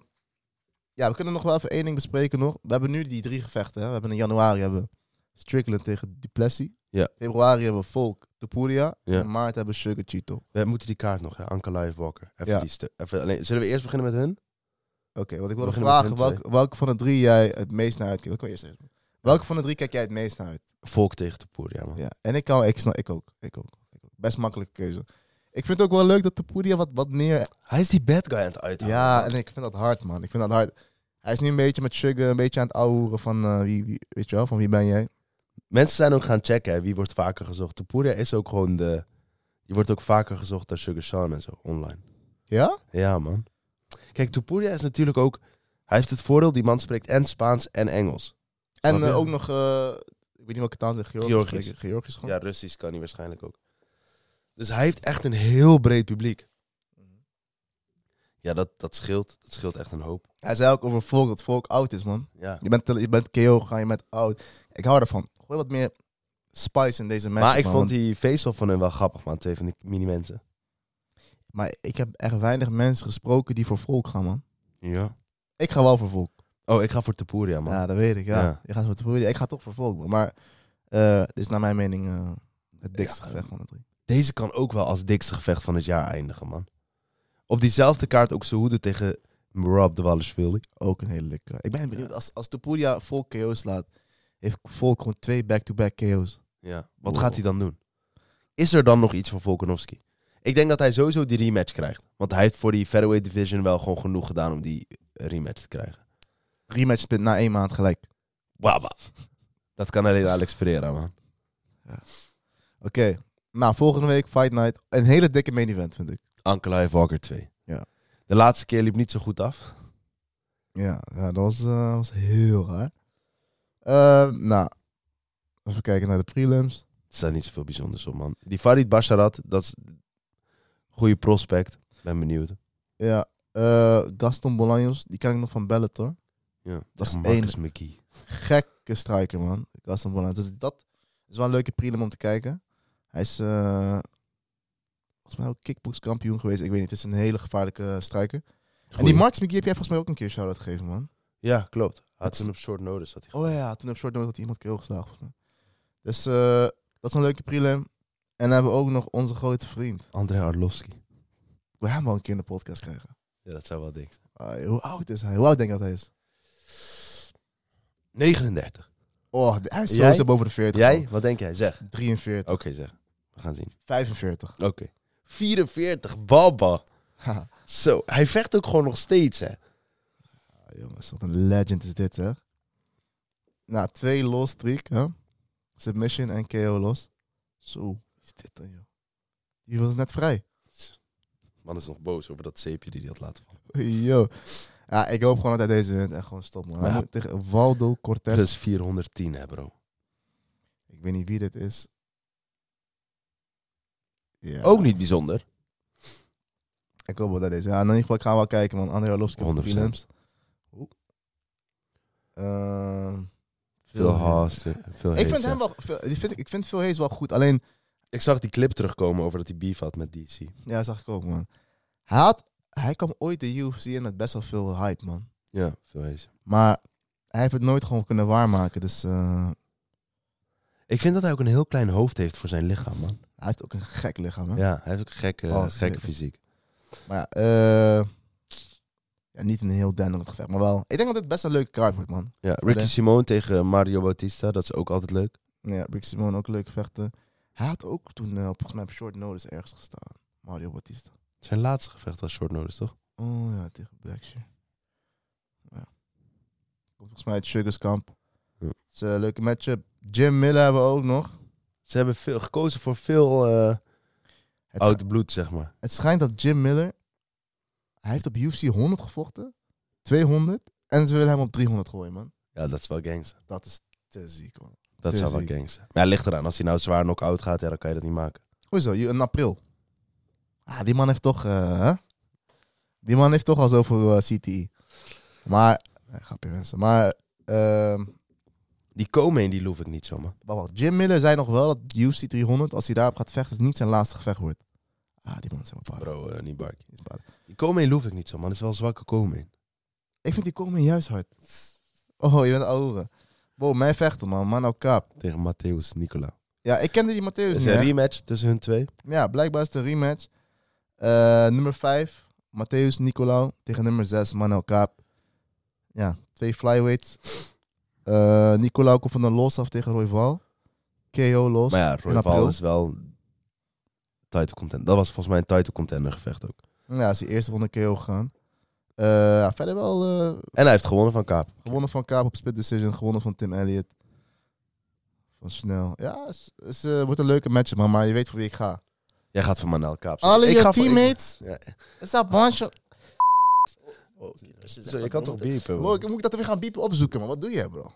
[SPEAKER 5] ja, we kunnen nog wel even één ding bespreken nog. We hebben nu die drie gevechten. Hè. We hebben in januari hebben we Strickland tegen Duplessis.
[SPEAKER 4] Ja.
[SPEAKER 5] Februari hebben we Volk Topuria.
[SPEAKER 4] Ja.
[SPEAKER 5] En maart hebben we Sugar Cheeto. Oké,
[SPEAKER 4] We moeten die kaart nog, hè? Anka Live Walker. Even
[SPEAKER 5] Ja.
[SPEAKER 4] die stu- even, alleen, zullen we eerst beginnen met hun?
[SPEAKER 5] wat ik
[SPEAKER 4] We
[SPEAKER 5] wilde
[SPEAKER 4] beginnen met
[SPEAKER 5] vragen.
[SPEAKER 4] hun
[SPEAKER 5] Welk, welke van de drie jij het meest naar uitkijkt? Ik wil eerst even- Welke van de drie kijk jij het meest naar uit?
[SPEAKER 4] Volk tegen Topuria, man.
[SPEAKER 5] Ja, en ik kan, ik snap, ik ook, ik ook. Ik ook. Best makkelijke keuze. Ik vind het ook wel leuk dat Topuria wat, wat meer...
[SPEAKER 4] Hij is die bad guy aan het uithalen.
[SPEAKER 5] Ja,
[SPEAKER 4] man.
[SPEAKER 5] en ik vind dat hard, man. Ik vind dat hard. Hij is nu een beetje met Sugar, een beetje aan het ouwen van eh, wie, wie, weet je wel, van wie ben jij?
[SPEAKER 4] Mensen zijn ook gaan checken, hè? Wie wordt vaker gezocht? Topuria is ook gewoon de... Die wordt ook vaker gezocht dan Sugar Sean en zo, online.
[SPEAKER 5] Ja?
[SPEAKER 4] Ja, man. Kijk, Topuria is natuurlijk ook... Hij heeft het voordeel, die man spreekt en Spaans en Engels.
[SPEAKER 5] En
[SPEAKER 4] Snap je?
[SPEAKER 5] eh, ook nog, eh, ik weet niet welke taal ze Georgisch.
[SPEAKER 4] Georgisch.
[SPEAKER 5] spreken. Georgisch gewoon.
[SPEAKER 4] Ja, Russisch kan hij waarschijnlijk ook. Dus hij heeft echt een heel breed publiek. Ja, dat, dat scheelt. Dat scheelt echt een hoop.
[SPEAKER 5] Hij zei ook over volk, dat volk oud is, man.
[SPEAKER 4] Ja.
[SPEAKER 5] Je bent, je bent KO gegaan, je bent oud. Ik hou ervan. Gooi wat meer spice in deze match.
[SPEAKER 4] Maar ik vond die face-off van hun wel grappig, man. Twee van die mini-mensen.
[SPEAKER 5] maar ik heb echt weinig mensen gesproken die voor volk gaan, man.
[SPEAKER 4] Ja.
[SPEAKER 5] Ik ga wel voor volk.
[SPEAKER 4] Oh, ik ga voor Topuria, man.
[SPEAKER 5] Ja, dat weet ik, ja.
[SPEAKER 4] Ja.
[SPEAKER 5] Je gaat voor Topuria. Ik ga toch voor volk, man. Maar eh, dit is naar mijn mening eh, het dikste
[SPEAKER 4] Ja.
[SPEAKER 5] gevecht van de drie.
[SPEAKER 4] Deze kan ook wel als dikste gevecht van het jaar eindigen, man. Op diezelfde kaart ook Sehoede tegen Rob de Wallersville.
[SPEAKER 5] Ook een hele lekkere. Ik ben benieuwd, als, als Topuria vol KO's slaat, heeft Volk gewoon twee back-to-back KO's.
[SPEAKER 4] Ja. Wat
[SPEAKER 5] Wow.
[SPEAKER 4] gaat hij dan doen? Is er dan nog iets van Volkanovski? Ik denk dat hij sowieso die rematch krijgt. Want hij heeft voor die featherweight division wel gewoon genoeg gedaan om die rematch te krijgen.
[SPEAKER 5] Rematch met na één maand gelijk.
[SPEAKER 4] Waba. Dat kan alleen Alex Pereira, man.
[SPEAKER 5] Oké, nou volgende week Fight Night. Een hele dikke main event vind ik.
[SPEAKER 4] Uncle Life Walker 2.
[SPEAKER 5] Ja.
[SPEAKER 4] De laatste keer liep niet zo goed af.
[SPEAKER 5] Ja, ja, dat was, eh, was heel raar. Eh, nou, even kijken naar de prelims.
[SPEAKER 4] Er staat niet zoveel bijzonders op, man. Die Farid Basharat, dat is een goede prospect. Ben benieuwd.
[SPEAKER 5] Ja, eh, Gaston Bolaños, die ken ik nog van Bellator.
[SPEAKER 4] Ja.
[SPEAKER 5] Dat is
[SPEAKER 4] Tegen
[SPEAKER 5] één.
[SPEAKER 4] Marcus McKee.
[SPEAKER 5] Gekke striker, man. Gaston Bolaños. Dus dat is wel een leuke prelim om te kijken. Hij is eh, volgens mij ook kickboxkampioen geweest. Ik weet niet, het is een hele gevaarlijke striker. En die Marks McGee heb jij volgens mij ook een keer shout-out gegeven, man.
[SPEAKER 4] Ja, klopt. Hij Had toen op short notice. Had hij
[SPEAKER 5] Oh ja, toen op short notice had iemand keel geslagen. volgens mij. Dus eh, dat is een leuke prelim. En dan hebben we ook nog onze grote vriend.
[SPEAKER 4] André Arlovski.
[SPEAKER 5] We gaan hem wel een keer in de podcast krijgen.
[SPEAKER 4] Ja, dat zou wel dik zijn.
[SPEAKER 5] Ah, hoe oud is hij? Hoe oud denk je dat hij is?
[SPEAKER 4] 39.
[SPEAKER 5] Oh, hij is
[SPEAKER 4] Jij?
[SPEAKER 5] sowieso boven de 40.
[SPEAKER 4] Jij?
[SPEAKER 5] man.
[SPEAKER 4] Wat denk jij? Zeg.
[SPEAKER 5] 43,
[SPEAKER 4] Oké, zeg. We gaan zien.
[SPEAKER 5] 45.
[SPEAKER 4] Oké. 44, baba.
[SPEAKER 5] [laughs] Haha.
[SPEAKER 4] Zo, hij vecht ook gewoon nog steeds, hè.
[SPEAKER 5] Ah, jongens, wat een legend is dit, hè? Nou, twee los streak, hè? Submission en KO los. Zo, wat is dit dan, joh? Die was net vrij. [laughs]
[SPEAKER 4] Man is nog boos over dat zeepje die hij had laten vallen.
[SPEAKER 5] Yo. Ja, ik hoop gewoon dat hij deze wint en gewoon stop, man. Hij
[SPEAKER 4] Ja. Dus-
[SPEAKER 5] moet tegen Waldo Cortez.
[SPEAKER 4] Plus 410, hè, bro.
[SPEAKER 5] Ik weet niet wie dit is. Ja.
[SPEAKER 4] Ook niet bijzonder.
[SPEAKER 5] Ik hoop wel dat deze. Ja, in ieder geval, ik ga wel kijken, man. André Arlovski op de
[SPEAKER 4] 100%.
[SPEAKER 5] prelims. Oeh. Ehm,
[SPEAKER 4] Veel
[SPEAKER 5] Hayes.
[SPEAKER 4] haast. eh, Veel
[SPEAKER 5] Ik vind hem wel... Phil- die vind, ik vind Phil Hayes wel goed. Alleen,
[SPEAKER 4] Ik zag die clip terugkomen over dat hij beef had met DC.
[SPEAKER 5] ja, zag ik ook, man. Hij, had, hij kwam ooit de UFC in met best wel veel hype, man.
[SPEAKER 4] Ja, veel hees.
[SPEAKER 5] Maar hij heeft het nooit gewoon kunnen waarmaken. Dus eh,
[SPEAKER 4] Ik vind dat hij ook een heel klein hoofd heeft voor zijn lichaam, man.
[SPEAKER 5] hij heeft ook een gek lichaam, hè?
[SPEAKER 4] Ja, hij heeft ook een gekke,
[SPEAKER 5] Oh,
[SPEAKER 4] gekke
[SPEAKER 5] zeker.
[SPEAKER 4] fysiek.
[SPEAKER 5] Maar ja, eh, ja, niet een heel denderend gevecht, maar wel. Ik denk dat dit best een leuke kaart wordt, man.
[SPEAKER 4] Ja, Ricky
[SPEAKER 5] Allee.
[SPEAKER 4] Simone tegen Mario Bautista, dat is ook altijd leuk.
[SPEAKER 5] Ja, Rick Simon ook leuke vechten. Hij had ook toen eh, op- volgens mij op short notice ergens gestaan. Mario Bautista.
[SPEAKER 4] Zijn laatste gevecht was short notice, toch?
[SPEAKER 5] Oh ja, tegen Blackshear. Ja. Komt volgens mij uit Sugars Camp.
[SPEAKER 4] Ja.
[SPEAKER 5] Het is een leuke matchup. Jim Miller hebben we ook nog.
[SPEAKER 4] Ze hebben veel, gekozen voor veel eh
[SPEAKER 5] Het, schi-
[SPEAKER 4] oud bloed, zeg maar.
[SPEAKER 5] het schijnt dat Jim Miller... Hij heeft op UFC 100 gevochten. 200. En ze willen hem op 300 gooien, man.
[SPEAKER 4] Ja, dat is wel gangster.
[SPEAKER 5] Dat is te ziek, man.
[SPEAKER 4] Dat zou wel
[SPEAKER 5] Tuurlijk.
[SPEAKER 4] gangster. Maar ja, ligt eraan. Als hij nou zwaar knock-out gaat, ja, dan kan je dat niet maken.
[SPEAKER 5] Hoezo? Je- In april. Ah, die man heeft toch... eh, hè? die man heeft toch al zoveel eh, CTI. Maar... eh, grapje mensen. Maar... ehm
[SPEAKER 4] Die komen in, die loef ik niet zo, man.
[SPEAKER 5] wacht, wacht. Jim Miller zei nog wel dat UFC 300, als hij daarop gaat vechten, is niet zijn laatste gevecht wordt. Ah, die man is helemaal paard.
[SPEAKER 4] Bro, eh, niet barkie.
[SPEAKER 5] Die is paard.
[SPEAKER 4] Die komen in loef ik niet zo, man. Dat is wel een zwakke komen in.
[SPEAKER 5] Ik vind die komen juist hard. Oh, je bent ouwe. Wow, mijn vechter, man. Man, nou kaap.
[SPEAKER 4] Tegen Matthäus Nicola.
[SPEAKER 5] Ja, ik kende die Matthäus
[SPEAKER 4] Het
[SPEAKER 5] niet,
[SPEAKER 4] is een
[SPEAKER 5] hè.
[SPEAKER 4] rematch tussen hun twee.
[SPEAKER 5] Ja, blijkbaar is het een rematch. Eh, nummer 5, Matthäus Nicolau tegen nummer 6, Manuel Kaap. Ja, twee flyweights. Eh Nicolau komt van een los af tegen Royval. KO los.
[SPEAKER 4] Maar ja,
[SPEAKER 5] in april.
[SPEAKER 4] Royval is wel title contender. Dat was volgens mij een title contender gevecht ook.
[SPEAKER 5] Ja, is die eerste ronde KO gegaan. Eh, ja, verder wel eh,
[SPEAKER 4] En hij heeft gewonnen van Kaap.
[SPEAKER 5] gewonnen van Kaap op split decision. Gewonnen van Tim Elliott. Van Snel. Ja, het is- is, eh, wordt een leuke match, man. Maar je weet voor wie ik ga.
[SPEAKER 4] Jij gaat voor Manel Kaap.
[SPEAKER 5] Alle
[SPEAKER 4] Ik
[SPEAKER 5] je
[SPEAKER 4] ga voor-
[SPEAKER 5] teammates.
[SPEAKER 4] Ja.
[SPEAKER 5] Is dat bandje?
[SPEAKER 4] Zo, je kan toch biepen,
[SPEAKER 5] Bro, ik- moet ik dat weer gaan biepen opzoeken, man? Wat doe jij, bro?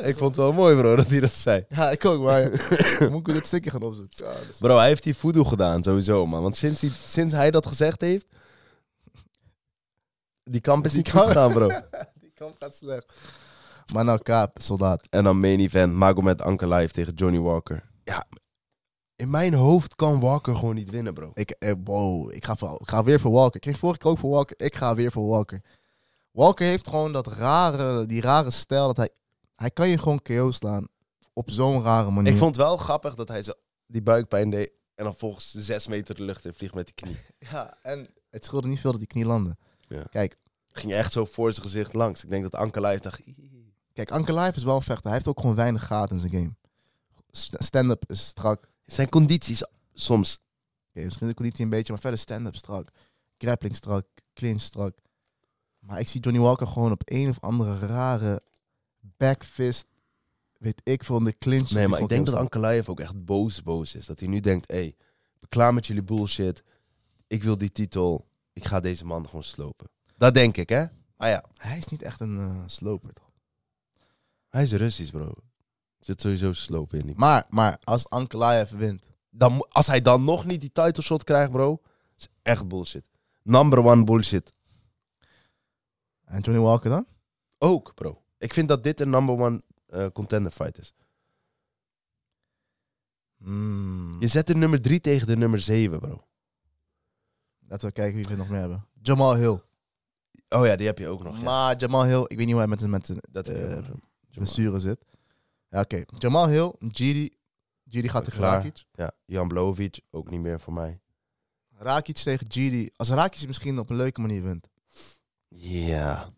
[SPEAKER 4] ik vond het wel mooi, bro, [laughs] dat hij dat zei.
[SPEAKER 5] Ja, ik ook, maar [laughs] moet ik dit stukje gaan opzoeken? Ja, dat is-
[SPEAKER 4] Bro, hij heeft die voodoo gedaan, sowieso, man. Want sinds, die, sinds hij dat gezegd heeft... Die kamp is
[SPEAKER 5] Die
[SPEAKER 4] niet goed
[SPEAKER 5] kamp-
[SPEAKER 4] gegaan, bro.
[SPEAKER 5] [laughs] Die kamp gaat slecht. Maar nou, Kaap, soldaat.
[SPEAKER 4] En dan main event, Magomed Ankalaev tegen Johnny Walker. Ja, in mijn hoofd kan Walker gewoon niet winnen, bro.
[SPEAKER 5] Ik, eh, wow, ik ga, voor, ik ga weer voor Walker. Ik ging vorige keer ook voor Walker. Ik ga weer voor Walker. Walker heeft gewoon dat rare, die rare stijl dat hij... Hij kan je gewoon KO slaan op zo'n rare manier.
[SPEAKER 4] Ik vond het wel grappig dat hij zo die buikpijn deed... en dan volgens zes meter de lucht in vliegt met die knie.
[SPEAKER 5] ja, en het scheelde niet veel dat die knie landde.
[SPEAKER 4] Ja.
[SPEAKER 5] Kijk,
[SPEAKER 4] Ging echt zo voor zijn gezicht langs. Ik denk dat Ankelij dacht... "Ih."
[SPEAKER 5] kijk, Anker Life is wel een vechter. Hij heeft ook gewoon weinig gaten in zijn game. St- Stand-up is strak.
[SPEAKER 4] Zijn condities soms...
[SPEAKER 5] Oké, misschien de conditie een beetje, maar verder stand-up strak. Grappling strak, clinch strak. Maar ik zie Johnny Walker gewoon op een of andere rare backfist. Weet ik van de clinch.
[SPEAKER 4] Nee, maar
[SPEAKER 5] die
[SPEAKER 4] ik denk dat
[SPEAKER 5] gewoon
[SPEAKER 4] Ankalaev ook echt boos boos is. Dat hij nu denkt, hé, hey, ik ben klaar met jullie bullshit. Ik wil die titel. Ik ga deze man gewoon slopen. Dat denk ik, hè? Ah ja,
[SPEAKER 5] constant- Hij is niet echt een eh, sloper, toch?
[SPEAKER 4] hij is Russisch, bro. Er zit sowieso slopen in die
[SPEAKER 5] Maar, maar als Ankalaev wint.
[SPEAKER 4] dan, mo- als hij dan nog niet die title shot krijgt, bro, is echt bullshit. Number one bullshit.
[SPEAKER 5] En Johnny Walker dan?
[SPEAKER 4] Ook, bro. Ik vind dat dit een number one eh, contender fight is.
[SPEAKER 5] Hmm,
[SPEAKER 4] Je zet de nummer 3 tegen de nummer 7, bro.
[SPEAKER 5] Laten we kijken wie we nog meer hebben. Jamal Hill.
[SPEAKER 4] Oh ja, die heb je ook nog. Ja.
[SPEAKER 5] Maar Jamal Hill, ik weet niet hoe hij met zijn, met zijn
[SPEAKER 4] dat
[SPEAKER 5] eh,
[SPEAKER 4] heb je ook nog.
[SPEAKER 5] blessure zit. Ja, oké. Jamal Hill, Giri. Giri gaat tegen
[SPEAKER 4] Klaar.
[SPEAKER 5] Rakic.
[SPEAKER 4] Ja, Jan Blovic, ook niet meer voor mij.
[SPEAKER 5] Rakic tegen Giri. Als Rakic misschien op een leuke manier wint.
[SPEAKER 4] Ja.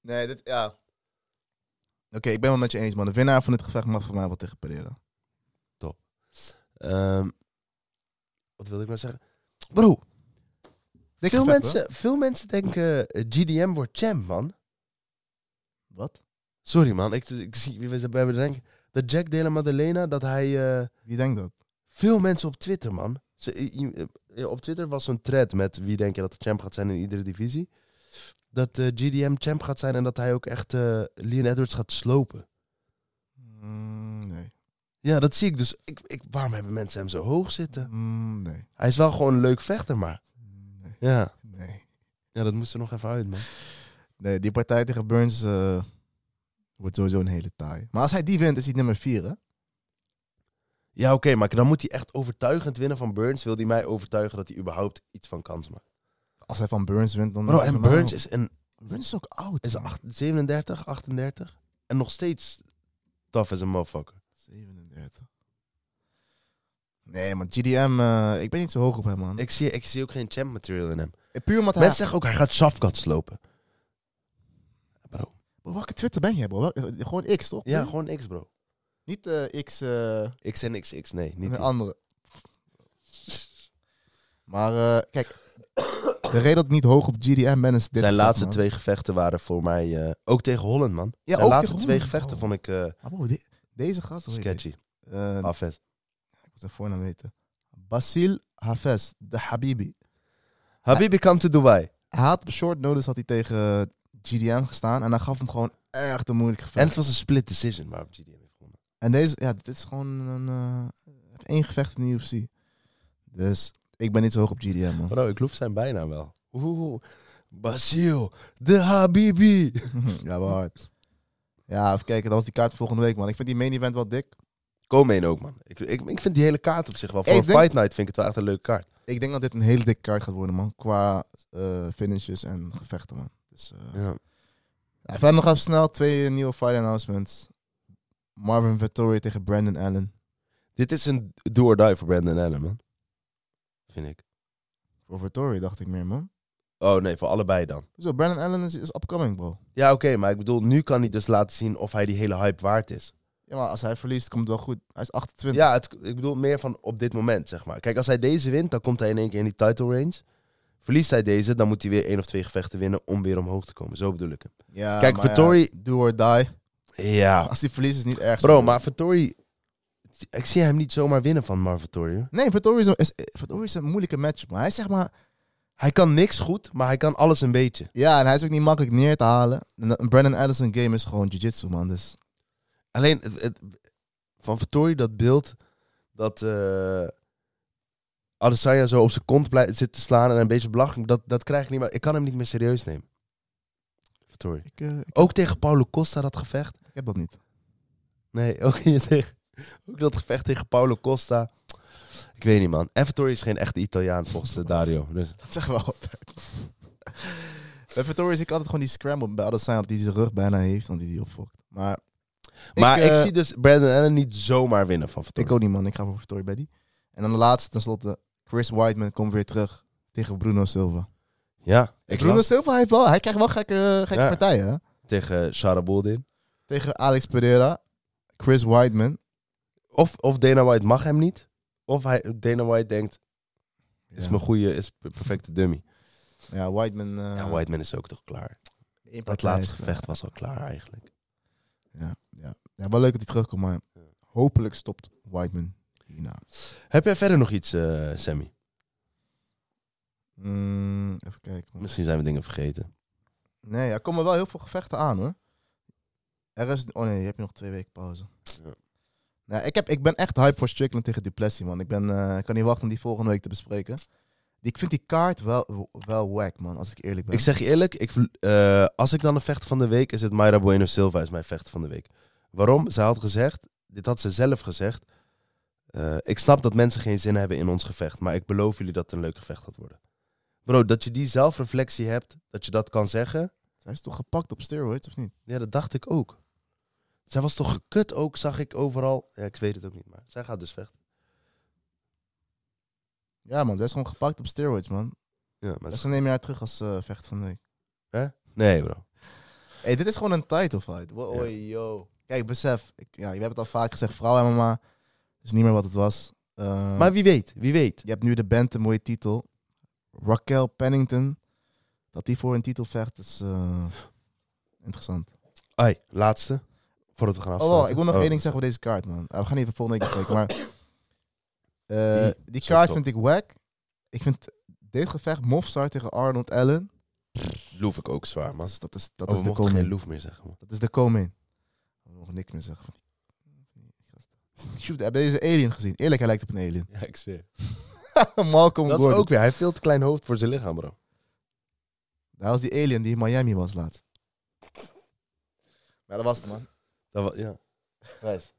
[SPEAKER 5] Nee, dit, ja. Oké, ik ben wel met je eens, man. De winnaar van dit gevecht mag voor mij wel tegen Pereira.
[SPEAKER 4] Ehm, wat wilde ik nou zeggen? Bro,
[SPEAKER 5] Dik
[SPEAKER 4] veel
[SPEAKER 5] gevecht,
[SPEAKER 4] mensen, veel mensen denken eh, GDM wordt champ, man.
[SPEAKER 5] hoor. Wat?
[SPEAKER 4] Sorry, man. Ik, ik zie, we zijn bij we denken dat Jack Della Maddalena, dat hij... eh,
[SPEAKER 5] Wie denkt dat?
[SPEAKER 4] Veel mensen op Twitter, man. Ze, i- i- eh, op Twitter was zo'n thread met wie denk je dat de champ gaat zijn in iedere divisie. Dat eh, GDM champ gaat zijn en dat hij ook echt eh Leon Edwards gaat slopen.
[SPEAKER 5] Mm, nee.
[SPEAKER 4] Ja, dat zie ik dus. Ik, ik, waarom hebben mensen hem zo hoog zitten?
[SPEAKER 5] Mm, nee.
[SPEAKER 4] Hij is wel gewoon een leuk vechter, maar...
[SPEAKER 5] Nee.
[SPEAKER 4] Ja,
[SPEAKER 5] Nee.
[SPEAKER 4] ja dat moest er nog even uit, man.
[SPEAKER 5] Nee, die partij tegen Burns eh, wordt sowieso een hele taai. Maar als hij die wint, is hij nummer 4, hè?
[SPEAKER 4] Ja, oké, maar dan moet hij echt overtuigend winnen van Burns. Wil hij mij overtuigen dat hij überhaupt iets van kans maakt?
[SPEAKER 5] Als hij van Burns wint, dan...
[SPEAKER 4] Bro, en Burns is een
[SPEAKER 5] Burns is ook oud.
[SPEAKER 4] is
[SPEAKER 5] man.
[SPEAKER 4] acht- 37, 38 en nog steeds tough as a motherfucker.
[SPEAKER 5] Mm. 37. Nee, maar GDM, eh, ik ben niet zo hoog op hem, man.
[SPEAKER 4] Ik zie, ik zie ook geen champ material in hem.
[SPEAKER 5] puur omdat hij...
[SPEAKER 4] Mensen zeggen ook, hij gaat Safkat slopen. Bro.
[SPEAKER 5] Welke Twitter ben jij, bro? Welke- Gewoon X, toch?
[SPEAKER 4] Ja, gewoon X, bro.
[SPEAKER 5] Niet eh, X... eh,
[SPEAKER 4] X en XX, nee. Niet
[SPEAKER 5] een
[SPEAKER 4] die.
[SPEAKER 5] andere. Maar eh, kijk, de reden dat ik niet hoog op GDM ben is dit.
[SPEAKER 4] Zijn
[SPEAKER 5] gevecht,
[SPEAKER 4] laatste
[SPEAKER 5] man.
[SPEAKER 4] twee gevechten waren voor mij... eh, ook tegen Holland, man.
[SPEAKER 5] Ja,
[SPEAKER 4] Zijn
[SPEAKER 5] ook
[SPEAKER 4] laatste
[SPEAKER 5] tegen
[SPEAKER 4] twee
[SPEAKER 5] Holland.
[SPEAKER 4] gevechten
[SPEAKER 5] Oh.
[SPEAKER 4] vond ik eh,
[SPEAKER 5] Ah, bro, de- deze gast, hoe heet die?
[SPEAKER 4] sketchy. Ah.
[SPEAKER 5] Eh,
[SPEAKER 4] Afes.
[SPEAKER 5] ik moet zijn voornaam weten. Basil Hafez, de Habibi.
[SPEAKER 4] Habibi come to Dubai.
[SPEAKER 5] Hij had op short notice had hij tegen GDM gestaan en hij gaf hem gewoon echt een moeilijk
[SPEAKER 4] En
[SPEAKER 5] gevecht.
[SPEAKER 4] het was een split decision, maar GDM heeft gewonnen.
[SPEAKER 5] En deze, ja, dit is gewoon een, eh, één gevecht in de UFC. Dus ik ben niet zo hoog op GDM, man.
[SPEAKER 4] Bro, ik loef zijn bijnaam wel. Oeh, Basil, de Habibi.
[SPEAKER 5] ja, wel hard. Ja, even kijken, dat was die kaart volgende week, man. Ik vind die main event wel dik.
[SPEAKER 4] Komeen ook, man. Ik, ik, ik vind die hele kaart op zich wel. Voor
[SPEAKER 5] Ik
[SPEAKER 4] een
[SPEAKER 5] denk-
[SPEAKER 4] fight night vind ik het wel echt een leuke kaart.
[SPEAKER 5] Ik denk dat dit een hele dikke kaart gaat worden, man. Qua eh, finishes en gevechten, man. Dus, eh,
[SPEAKER 4] Ja.
[SPEAKER 5] ja, verder nog even snel twee nieuwe fight announcements. Marvin Vettori tegen Brandon Allen.
[SPEAKER 4] Dit is een do or die voor Brandon Allen, man. Vind ik.
[SPEAKER 5] Voor Vettori dacht ik meer, man.
[SPEAKER 4] Oh nee, voor allebei dan.
[SPEAKER 5] Zo, Brandon Allen is, is upcoming, bro.
[SPEAKER 4] Ja, oké, maar ik bedoel, nu kan hij dus laten zien of hij die hele hype waard is.
[SPEAKER 5] Ja, maar als hij verliest, komt het wel goed. Hij is 28.
[SPEAKER 4] Ja, het, ik bedoel meer van op dit moment, zeg maar. Kijk, als hij deze wint, dan komt hij in één keer in die title range. Verliest hij deze, dan moet hij weer één of twee gevechten winnen om weer omhoog te komen. Zo bedoel ik hem.
[SPEAKER 5] Ja,
[SPEAKER 4] Kijk,
[SPEAKER 5] maar ja,
[SPEAKER 4] Vettori-
[SPEAKER 5] do or die.
[SPEAKER 4] Ja.
[SPEAKER 5] Als hij verliest, is het niet erg.
[SPEAKER 4] Bro, maar Vittori... Ik zie hem niet zomaar winnen van Marvin Vittori. hoor.
[SPEAKER 5] Nee, Vettori is, een- is, Vettori is een moeilijke match, maar hij is zeg maar...
[SPEAKER 4] Hij kan niks goed, maar hij kan alles een beetje.
[SPEAKER 5] Ja, en hij is ook niet makkelijk neer te halen. En dat- Brandon Addison game is gewoon jiu-jitsu, man. Dus
[SPEAKER 4] Alleen het, het- van Vittori dat beeld dat eh Adesanya zo op zijn kont blijft, zit te slaan en een beetje belachelijk, dat, dat krijg ik niet meer. Ik kan hem niet meer serieus nemen. Vittori.
[SPEAKER 5] ik, eh, ik-
[SPEAKER 4] Ook tegen Paulo Costa dat gevecht.
[SPEAKER 5] ik heb dat niet. [laughs]
[SPEAKER 4] Nee, [laughs] ook niet tegen. Ook dat gevecht tegen Paulo Costa. Ik weet niet, man. En Vittori is geen echte Italiaan volgens eh, Dario. Dus
[SPEAKER 5] Dat zeggen we altijd. [laughs] bij Vittoria zie ik altijd gewoon die scramble bij Adesanya dat hij zijn rug bijna heeft, want hij die opfokt. Maar,
[SPEAKER 4] maar ik
[SPEAKER 5] eh,
[SPEAKER 4] zie dus Brandon Allen niet zomaar winnen van Vittori.
[SPEAKER 5] ik ook niet, man. Ik ga voor Vittoria bij die. En dan de laatste, tenslotte. Chris Whiteman komt weer terug tegen Bruno Silva.
[SPEAKER 4] Ja,
[SPEAKER 5] Ik
[SPEAKER 4] las
[SPEAKER 5] Bruno Silva heeft wel, hij krijgt wel gekke, gekke
[SPEAKER 4] Ja.
[SPEAKER 5] partijen. hè.
[SPEAKER 4] tegen Sarah Boldin.
[SPEAKER 5] Tegen Alex Pereira, Chris Weidman.
[SPEAKER 4] Of, of Dana White mag hem niet. Of hij, Dana White denkt, is
[SPEAKER 5] Ja.
[SPEAKER 4] mijn goede, is per- perfecte dummy.
[SPEAKER 5] Ja, Weidman. eh
[SPEAKER 4] ja, Whiteman is ook toch klaar.
[SPEAKER 5] één
[SPEAKER 4] Dat
[SPEAKER 5] partij
[SPEAKER 4] laatste
[SPEAKER 5] is-
[SPEAKER 4] gevecht was al klaar eigenlijk.
[SPEAKER 5] Ja, ja. ja, wel leuk dat hij terugkomt, maar hopelijk stopt Whiteman hierna.
[SPEAKER 4] Heb jij verder nog iets, eh, Sammy?
[SPEAKER 5] Mm, even kijken.
[SPEAKER 4] Misschien zijn we dingen vergeten.
[SPEAKER 5] Nee, er komen wel heel veel gevechten aan hoor. Er is... Oh nee, je hebt nog twee weken pauze.
[SPEAKER 4] Ja.
[SPEAKER 5] Nou, ik, heb, ik ben echt hype voor Strickland tegen Duplessis, man. Ik, ben, eh, ik kan niet wachten om die volgende week te bespreken. Die, ik vind die kaart wel, wel wack, man, als ik eerlijk ben.
[SPEAKER 4] Ik zeg je eerlijk, ik, vl- eh, als ik dan een vecht van de week, is het Mayra Bueno Silva is mijn vecht van de week. Waarom? Ze had gezegd, dit had ze zelf gezegd. eh, ik snap dat mensen geen zin hebben in ons gevecht, maar ik beloof jullie dat het een leuk gevecht gaat worden. Bro, dat je die zelfreflectie hebt, dat je dat kan zeggen,
[SPEAKER 5] Hij is toch gepakt op steroids, of niet?
[SPEAKER 4] ja, dat dacht ik ook. Zij was toch gekut ook, zag ik overal. Ja, ik weet het ook niet, maar zij gaat dus vechten.
[SPEAKER 5] Ja, man, hij is gewoon gepakt op steroids, man.
[SPEAKER 4] Ja, maar
[SPEAKER 5] Dus dan neem je haar terug als eh, vecht van de week.
[SPEAKER 4] Nee, bro.
[SPEAKER 5] Hey, dit is gewoon een title fight. Wow,
[SPEAKER 4] Ja.
[SPEAKER 5] oei, yo. Kijk, besef. Ik, ja, we hebben het al vaak gezegd. Vrouw MMA is niet meer wat het was. Eh,
[SPEAKER 4] Maar wie weet, wie weet.
[SPEAKER 5] je hebt nu de band een mooie titel. Raquel Pennington. Dat die voor een titel vecht is eh, interessant.
[SPEAKER 4] Ai, laatste. Voordat we gaan
[SPEAKER 5] Oh,
[SPEAKER 4] afsluiten.
[SPEAKER 5] wow, ik wil nog één ding zeggen over deze kaart, man. Eh, we gaan even volgende week
[SPEAKER 4] [coughs]
[SPEAKER 5] kijken. Maar eh,
[SPEAKER 4] Die
[SPEAKER 5] die
[SPEAKER 4] is
[SPEAKER 5] kaart
[SPEAKER 4] ook
[SPEAKER 5] vind ik wack. Ik vind dit gevecht Mofsar tegen Arnold Allen.
[SPEAKER 4] Loef ik ook zwaar, man.
[SPEAKER 5] Dat is, dat is, dat
[SPEAKER 4] Oh,
[SPEAKER 5] is
[SPEAKER 4] we
[SPEAKER 5] de
[SPEAKER 4] mochten geen
[SPEAKER 5] komen.
[SPEAKER 4] loef meer zeggen, man.
[SPEAKER 5] Dat is de komen. Ik mag niks meer zeggen. van die- Shoot, heb je deze alien gezien? Eerlijk, hij lijkt op een alien.
[SPEAKER 4] [laughs]
[SPEAKER 5] [laughs]
[SPEAKER 4] Ja, ik zweer.
[SPEAKER 5] Malcolm
[SPEAKER 4] Dat is
[SPEAKER 5] Gordon.
[SPEAKER 4] ook weer. Hij heeft veel te klein hoofd voor zijn lichaam, bro.
[SPEAKER 5] Dat was die alien die in Miami was laatst. Ja, dat was het, man.
[SPEAKER 4] Dat wa- ja. Nice.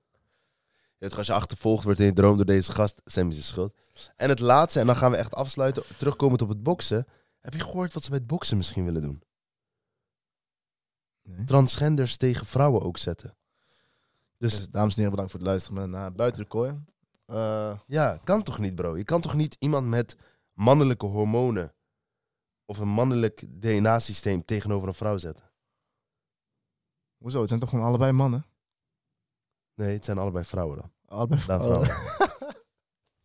[SPEAKER 4] Je weet toch, als je achtervolgd wordt in je droom door deze gast, Sam is de schuld. En het laatste, en dan gaan we echt afsluiten, terugkomend op het boksen. Heb je gehoord wat ze bij het boksen misschien willen doen?
[SPEAKER 5] Nee.
[SPEAKER 4] Transgenders tegen vrouwen ook zetten. Dus
[SPEAKER 5] Dus, dames en heren, bedankt voor het luisteren. We zijn, eh, buiten de kooi. Eh,
[SPEAKER 4] Ja, kan toch niet, bro? Je kan toch niet iemand met mannelijke hormonen of een mannelijk DNA-systeem tegenover een vrouw zetten?
[SPEAKER 5] hoezo? Het zijn toch gewoon allebei mannen?
[SPEAKER 4] Nee, het zijn allebei vrouwen dan.
[SPEAKER 5] Allebei
[SPEAKER 4] Dan
[SPEAKER 5] vrouwen.
[SPEAKER 4] vrouwen. [laughs]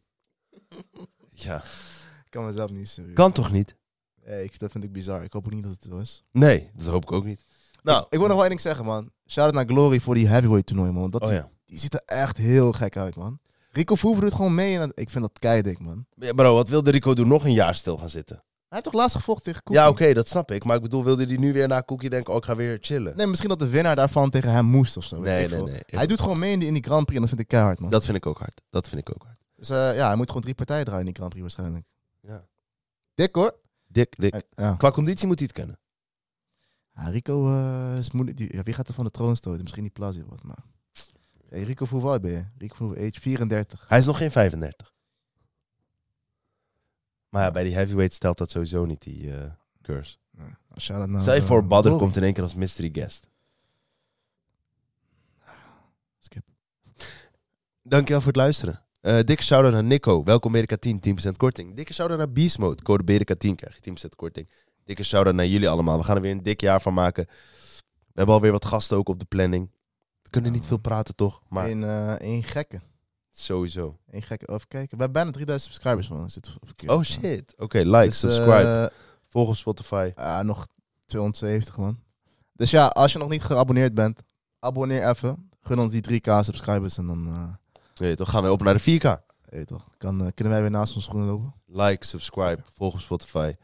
[SPEAKER 4] ja,
[SPEAKER 5] [laughs] Ik kan mezelf niet serieus.
[SPEAKER 4] kan toch niet?
[SPEAKER 5] Hey, ik, dat vind ik bizar. Ik hoop ook niet dat het zo is.
[SPEAKER 4] Nee, dat hoop ik ook niet. Nou,
[SPEAKER 5] Ik, ik wil nog wel één ding zeggen, man. Shout-out naar Glory voor die heavyweight toernooi, man. Dat,
[SPEAKER 4] oh ja.
[SPEAKER 5] Die ziet er echt heel gek uit, man. Rico Verhoeven doet gewoon mee en dat- ik vind dat keidik, man.
[SPEAKER 4] Ja, Bro, wat wilde Rico doen? Nog een jaar stil gaan zitten?
[SPEAKER 5] Hij heeft toch laatst gevochten tegen Cookie?
[SPEAKER 4] Ja, oké, dat snap ik. Maar ik bedoel, wilde hij nu weer na Cookie denken, oh, ik ga weer chillen?
[SPEAKER 5] Nee, misschien dat de winnaar daarvan tegen hem moest of zo. weet
[SPEAKER 4] Nee,
[SPEAKER 5] ik
[SPEAKER 4] nee,
[SPEAKER 5] veel.
[SPEAKER 4] nee.
[SPEAKER 5] Hij doet gewoon mee in die, in die Grand Prix en dat vind ik keihard, man.
[SPEAKER 4] Dat vind ik ook hard. Dat vind ik ook hard.
[SPEAKER 5] Dus eh, ja, hij moet gewoon drie partijen draaien in die Grand Prix waarschijnlijk.
[SPEAKER 4] Ja.
[SPEAKER 5] Dik hoor.
[SPEAKER 4] Dik, dik.
[SPEAKER 5] En- Ja.
[SPEAKER 4] Qua conditie moet hij het kennen.
[SPEAKER 5] Ja, Rico eh, is moeilijk. Die, ja, wie gaat er van de troon stoten? Misschien die Plasio wat, maar... Hey, Rico, hoe oud ben je? Rico, hoe age 34.
[SPEAKER 4] Hij is nog geen 35. Maar ja, bij die heavyweight stelt dat sowieso niet, die eh, curse.
[SPEAKER 5] Shout-out naar...
[SPEAKER 4] Stel je
[SPEAKER 5] eh,
[SPEAKER 4] voor, Badr
[SPEAKER 5] Glory.
[SPEAKER 4] komt in één keer als mystery guest.
[SPEAKER 5] Skip.
[SPEAKER 4] Dankjewel voor het luisteren. Eh dikke shout-out naar Nico. Welkom BDK 10, 10% korting. Dikke shout-out naar Beast Mode. Code BDK 10 krijg je 10% korting. Dikke shout-out naar jullie allemaal. We gaan er weer een dik jaar van maken. We hebben alweer wat gasten ook op de planning. We kunnen
[SPEAKER 5] Ja,
[SPEAKER 4] niet veel praten, toch? Maar
[SPEAKER 5] Eén eh, één gekke.
[SPEAKER 4] sowieso.
[SPEAKER 5] Eén gekke. Even kijken. We hebben bijna 3000 subscribers, man. Is dit verkeerd?
[SPEAKER 4] Oh shit. Oké, like,
[SPEAKER 5] Dus, eh,
[SPEAKER 4] subscribe, volg op Spotify.
[SPEAKER 5] Ah, nog 270, man. Dus ja, als je nog niet geabonneerd bent, abonneer even. Gun ons die 3k subscribers en dan eh,
[SPEAKER 4] Nee, dan gaan we op naar de 4K.
[SPEAKER 5] weet je toch, kan, eh, kunnen wij weer naast ons schoenen lopen.
[SPEAKER 4] Like, subscribe, volg op Spotify.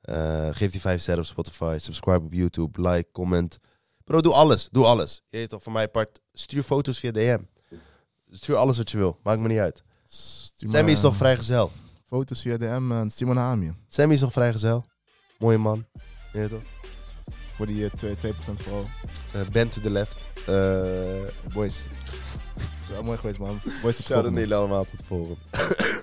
[SPEAKER 4] Eh, geef die 5 sterren op Spotify. Subscribe op YouTube. Like, comment. Bro, doe alles. Doe alles. Je weet toch, van mij part. Stuur foto's via DM. Stuur alles wat je wil. Maakt me niet uit.
[SPEAKER 5] Stuur
[SPEAKER 4] Sammy
[SPEAKER 5] maar,
[SPEAKER 4] is toch
[SPEAKER 5] eh,
[SPEAKER 4] vrijgezel?
[SPEAKER 5] Foto's via DM en stuur maar naar Amir.
[SPEAKER 4] Sammy is toch vrijgezel? Mooie man. Je weet toch?
[SPEAKER 5] Voor die eh, 2, 2% vooral.
[SPEAKER 4] Eh, bend to the left. Eh
[SPEAKER 5] Boys. Dat is wel mooi geweest, man. Boys, tot
[SPEAKER 4] [laughs]
[SPEAKER 5] de
[SPEAKER 4] Shout-out aan
[SPEAKER 5] volgende.
[SPEAKER 4] jullie allemaal. Tot de volgende.